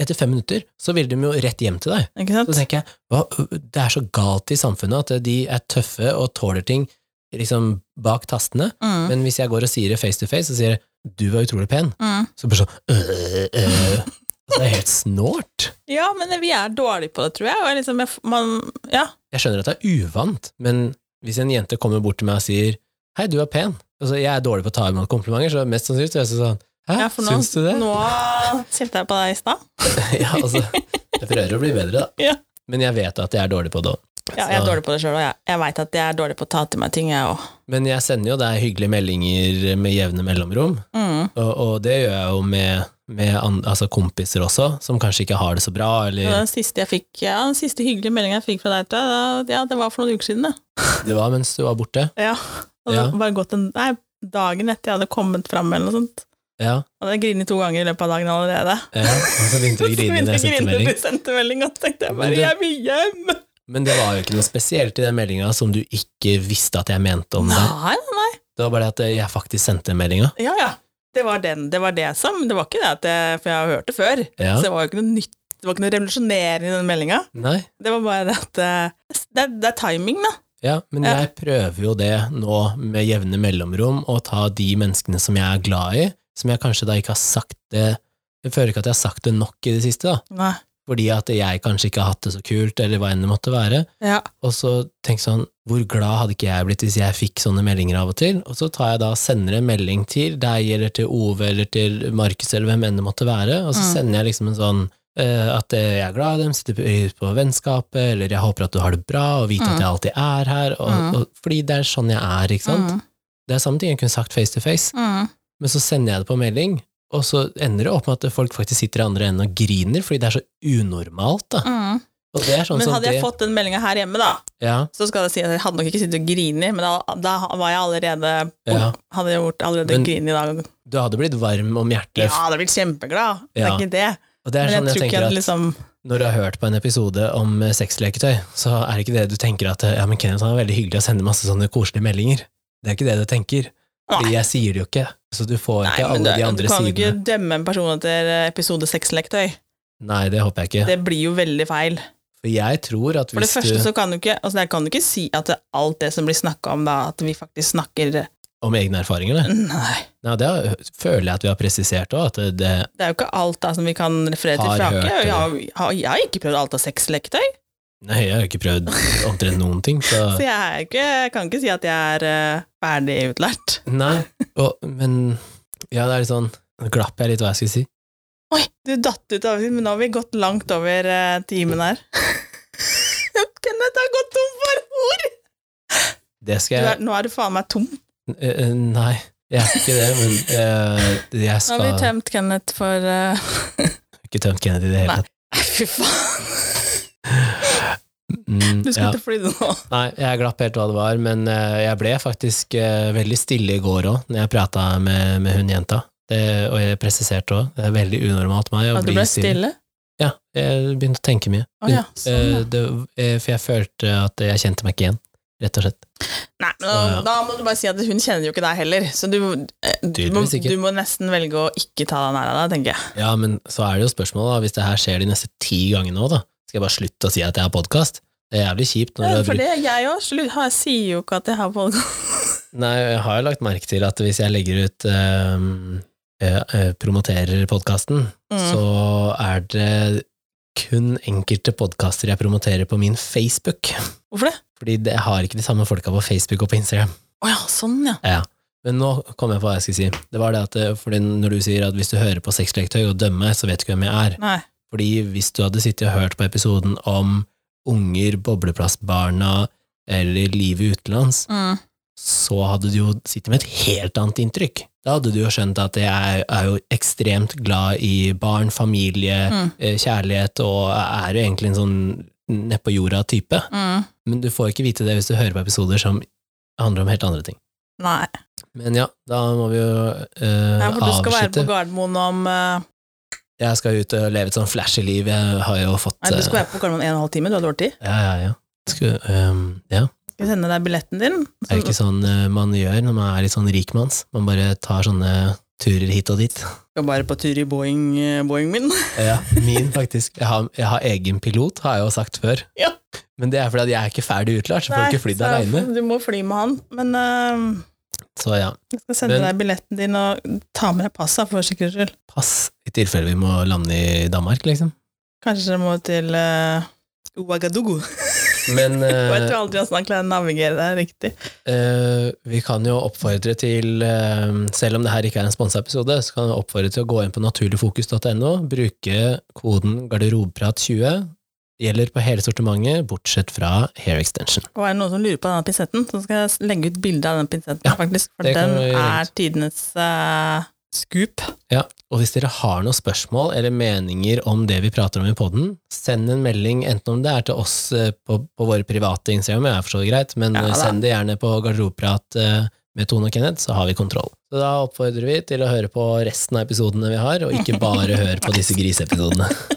Speaker 1: etter fem minutter så vil de jo rett hjem til deg.
Speaker 2: Ikke
Speaker 1: Så
Speaker 2: sant?
Speaker 1: tenker jeg, hva, det er så galt i samfunnet at de er tøffe og tåler ting liksom bak tastene,
Speaker 2: Mm.
Speaker 1: men hvis jeg går og sier det face to face, og sier jeg, du var utrolig pen,
Speaker 2: Mm.
Speaker 1: så bare sånn øh, øh. Altså, Det er helt snålt.
Speaker 2: Ja, men vi er dårlige på det, tror jeg. Og jeg liksom, jeg, f- man, ja.
Speaker 1: Jeg skjønner at det er uvant, men hvis en jente kommer bort til meg og sier hei, du er pen, altså jeg er dårlig på å ta imot komplimenter, så mest sannsynlig så er jeg sånn hæ,
Speaker 2: ja, for nå,
Speaker 1: syns du det?
Speaker 2: Nå kjefta jeg på deg i stad.
Speaker 1: ja, altså, jeg prøver å bli bedre, da.
Speaker 2: Ja.
Speaker 1: Men jeg vet at jeg er dårlig på det òg.
Speaker 2: Ja, jeg er
Speaker 1: Så-
Speaker 2: dårlig på det sjøl òg. Jeg, jeg veit at jeg er dårlig på å ta til meg ting, jeg òg.
Speaker 1: Men jeg sender jo deg hyggelige meldinger med jevne mellomrom,
Speaker 2: Mm.
Speaker 1: og, og det gjør jeg jo med, med an, altså kompiser også, som kanskje ikke har det så bra,
Speaker 2: Og
Speaker 1: eller
Speaker 2: Den siste jeg fikk, ja, den siste hyggelige meldinga jeg fikk fra deg, tror jeg, da- ja, det var for noen uker siden. Det.
Speaker 1: det var mens du var borte.
Speaker 2: Ja. Og det
Speaker 1: Ja.
Speaker 2: var gått en, nei, dagen etter jeg hadde kommet fram, eller noe sånt.
Speaker 1: Ja,
Speaker 2: Og jeg grinet to ganger i løpet av dagen allerede.
Speaker 1: ja. Og så begynte du
Speaker 2: Så
Speaker 1: å grine når jeg sendte
Speaker 2: når
Speaker 1: melding.
Speaker 2: du sendte melding, og så tenkte jeg
Speaker 1: Men
Speaker 2: bare
Speaker 1: du-
Speaker 2: 'jeg vil hjem'.
Speaker 1: Men det var jo ikke noe spesielt i den meldinga som du ikke visste at jeg mente om deg.
Speaker 2: Nei, nei.
Speaker 1: Det var bare det at jeg faktisk sendte den meldinga.
Speaker 2: Ja, ja. Det var, den, det var det som Det var ikke det at jeg For jeg har hørt det før.
Speaker 1: Ja.
Speaker 2: Så det var jo ikke noe nytt. Det var ikke noe revolusjonerende i den meldinga.
Speaker 1: Nei.
Speaker 2: Det var bare det at eh, det, er- det er timing, da.
Speaker 1: Ja, men
Speaker 2: Ja.
Speaker 1: jeg prøver jo det nå med jevne mellomrom, å ta de menneskene som jeg er glad i, som jeg kanskje da ikke har sagt det Jeg føler ikke at jeg har sagt det nok i det siste, da.
Speaker 2: Nei.
Speaker 1: Fordi at jeg kanskje ikke har hatt det så kult, eller hva enn det måtte være.
Speaker 2: Ja.
Speaker 1: Og så tenk sånn, hvor glad hadde ikke jeg blitt hvis jeg fikk sånne meldinger av og til? Og så tar jeg da og sender en melding til deg, eller til Ove, eller til Markus, eller hvem enn det måtte være, og så
Speaker 2: Mm.
Speaker 1: sender jeg liksom en sånn eh, at eh, jeg er glad i dem, setter pris på vennskapet, eller jeg håper at du har det bra, og vite
Speaker 2: Mm.
Speaker 1: at jeg alltid er her, og,
Speaker 2: Mm.
Speaker 1: og, fordi det er sånn jeg er, ikke sant? Det er samme ting jeg kunne sagt face to face,
Speaker 2: Mm,
Speaker 1: men så sender jeg det på melding, og så ender det opp med at folk faktisk sitter i andre enden og griner, fordi det er så unormalt, da. Og det er sånn
Speaker 2: Mm. Men
Speaker 1: som
Speaker 2: hadde jeg
Speaker 1: det-
Speaker 2: fått den meldinga her hjemme, da,
Speaker 1: ja,
Speaker 2: så skal jeg si at jeg hadde nok ikke sittet og grinet, men da, da var jeg allerede
Speaker 1: Ja.
Speaker 2: Hadde jeg gjort allerede
Speaker 1: Men-
Speaker 2: grin i dag.
Speaker 1: du hadde blitt varm om hjertet
Speaker 2: Ja, hadde blitt kjempeglad. Det
Speaker 1: Ja.
Speaker 2: er ikke det.
Speaker 1: Og det er
Speaker 2: Men jeg
Speaker 1: sånn jeg,
Speaker 2: tror ikke
Speaker 1: tenker
Speaker 2: jeg
Speaker 1: at
Speaker 2: hadde liksom
Speaker 1: når du har hørt på en episode om eh, sexleketøy, så er det ikke det du tenker at eh, ja, men Kenneth han er veldig hyggelig og sender masse sånne koselige meldinger. Det er ikke det du tenker. Fordi
Speaker 2: Nei.
Speaker 1: jeg sier det jo ikke. Så du får
Speaker 2: Nei,
Speaker 1: ikke
Speaker 2: men
Speaker 1: alle
Speaker 2: du,
Speaker 1: de
Speaker 2: du
Speaker 1: andre
Speaker 2: kan jo
Speaker 1: sidene.
Speaker 2: ikke dømme en person etter eh, episode seks-lektøy.
Speaker 1: Nei, det håper jeg ikke.
Speaker 2: Det blir jo veldig feil.
Speaker 1: For jeg tror at
Speaker 2: For det
Speaker 1: hvis
Speaker 2: første
Speaker 1: du
Speaker 2: så kan du ikke altså Jeg kan jo ikke si at det- alt det som blir snakka om, da, at vi faktisk snakker
Speaker 1: Om egne erfaringer, det.
Speaker 2: Nei.
Speaker 1: Nei, det har- føler jeg at vi har presisert òg, at det
Speaker 2: Det er jo ikke alt da som vi kan referere
Speaker 1: Har
Speaker 2: til
Speaker 1: hørt
Speaker 2: frake.
Speaker 1: det.
Speaker 2: Jeg, har- jeg, har- jeg har ikke prøvd alt av sexleketøy.
Speaker 1: Nei, jeg har jo ikke prøvd omtrent noen ting, så
Speaker 2: Så jeg, er ikke, jeg kan ikke si at jeg er eh, ferdig utlært.
Speaker 1: Nei. Og, men ja, det er litt sånn Nå glapp jeg litt hva jeg skulle si.
Speaker 2: Oi, du datt ut av men nå har vi gått langt over eh, timen her. Kenneth har gått tom for ord!
Speaker 1: Det
Speaker 2: Du
Speaker 1: skal jeg
Speaker 2: er, nå er du faen meg tom.
Speaker 1: Eh, eh, Nei, jeg er ikke det, men eh, jeg
Speaker 2: Nå
Speaker 1: skal
Speaker 2: har vi tømt Kenneth for eh,
Speaker 1: Ikke tømt Kennedy i det hele
Speaker 2: Nei.
Speaker 1: tatt.
Speaker 2: Fy faen,
Speaker 1: Mm,
Speaker 2: du
Speaker 1: ja.
Speaker 2: skulle til å fly det nå.
Speaker 1: Nei, jeg glapp helt hva det var, men eh, jeg ble faktisk eh, veldig stille i går òg, når jeg prata med, med hun jenta. Det, og jeg presiserte òg, det er veldig unormalt meg å
Speaker 2: At du
Speaker 1: bli
Speaker 2: ble
Speaker 1: stille.
Speaker 2: stille?
Speaker 1: Ja, jeg begynte å tenke mye.
Speaker 2: Å ja, sånn,
Speaker 1: Eh, det, eh, for jeg følte at jeg kjente meg ikke igjen, rett og slett.
Speaker 2: Nei, men
Speaker 1: så,
Speaker 2: da,
Speaker 1: ja.
Speaker 2: da må du bare si at hun kjenner jo ikke deg heller, så du, eh, du, må,
Speaker 1: Tydeligvis ikke.
Speaker 2: du må nesten velge å ikke ta deg nær av deg, tenker jeg.
Speaker 1: Ja, men så er det jo spørsmålet, da, hvis det her skjer de neste ti gangene nå, da, skal jeg bare slutte å si at jeg har podkast? Det er jævlig kjipt når du
Speaker 2: Ja,
Speaker 1: har
Speaker 2: for
Speaker 1: brukt
Speaker 2: det jeg òg. Jeg sier jo ikke at jeg har podkast.
Speaker 1: Nei, jeg har lagt merke til at hvis jeg legger ut ehm, eh, eh, promoterer podkasten,
Speaker 2: Mm.
Speaker 1: så er det kun enkelte podkaster jeg promoterer på min Facebook.
Speaker 2: Hvorfor det?
Speaker 1: Fordi det, jeg har ikke de samme folka på Facebook og på Instagram.
Speaker 2: Å ja, sånn, ja.
Speaker 1: Men nå kom jeg på hva jeg skulle si. Det var det at eh, fordi når du sier at hvis du hører på sexleketøy og dømmer meg, så vet du ikke hvem jeg er.
Speaker 2: Nei.
Speaker 1: Fordi hvis du hadde sittet og hørt på episoden om unger, bobleplassbarna eller livet utenlands,
Speaker 2: Mm.
Speaker 1: så hadde du jo sittet med et helt annet inntrykk. Da hadde du jo skjønt at jeg er, er jo ekstremt glad i barn, familie,
Speaker 2: Mm.
Speaker 1: eh, kjærlighet, og er jo egentlig en sånn nedpå jorda-type.
Speaker 2: Mm.
Speaker 1: Men du får ikke vite det hvis du hører på episoder som handler om helt andre ting.
Speaker 2: Nei.
Speaker 1: Men ja, da må vi jo eh,
Speaker 2: Ja, for du skal være
Speaker 1: avslutte.
Speaker 2: på Gardermoen om eh,
Speaker 1: Jeg skal ut og leve et sånn flashy liv. Jeg har jo fått
Speaker 2: Nei, du skal
Speaker 1: eh,
Speaker 2: være på Gardermoen en og en halv time, du hadde overtid.
Speaker 1: Ja, ja, ja. Skulle, ehm, ja.
Speaker 2: Skal vi sende deg billetten din?
Speaker 1: Det er jo ikke sånn eh, man gjør når man er litt sånn rikmanns. Man bare tar sånne turer hit og dit.
Speaker 2: Skal bare på tur i Boeing, eh, Boeing min.
Speaker 1: Ja, min faktisk. Jeg har, jeg har egen pilot, har jeg jo sagt før.
Speaker 2: Ja.
Speaker 1: Men det er fordi at jeg er ikke ferdig utlært, så får jeg ikke flydd
Speaker 2: så
Speaker 1: aleine.
Speaker 2: Du må fly med han. Men eh,
Speaker 1: Så ja,
Speaker 2: jeg skal sende
Speaker 1: Men-
Speaker 2: deg billetten din, og ta med deg passet for sikkerhets skyld.
Speaker 1: pass i tilfelle vi må lande i Danmark, liksom.
Speaker 2: Kanskje dere må til uh, Ouagadougou.
Speaker 1: Men
Speaker 2: Jeg
Speaker 1: eh,
Speaker 2: tror aldri hvordan han klarer å navigere der riktig.
Speaker 1: eh, vi kan jo oppfordre til, eh, selv om det her ikke er en sponsa episode, så kan vi oppfordre til å gå inn på naturligfokus.no, bruke koden garderobeprat20. Gjelder på hele sortimentet, bortsett fra hair extension.
Speaker 2: Og er det noen som lurer på denne pinsetten, så skal jeg legge ut bilde av den pinsetten,
Speaker 1: Ja,
Speaker 2: faktisk. For
Speaker 1: det kan
Speaker 2: den
Speaker 1: vi gjøre.
Speaker 2: er tidenes eh, scoop.
Speaker 1: Ja, og hvis dere har noen spørsmål eller meninger om det vi prater om i podden, send en melding, enten om det er til oss eh, på, på våre private Instagram, jeg forstår det greit, men
Speaker 2: Ja,
Speaker 1: eh,
Speaker 2: da.
Speaker 1: send det gjerne på garderobeprat eh, med Tone og Kenneth, så har vi kontroll. Så da oppfordrer vi til å høre på resten av episodene vi har, og ikke bare høre på disse griseepisodene.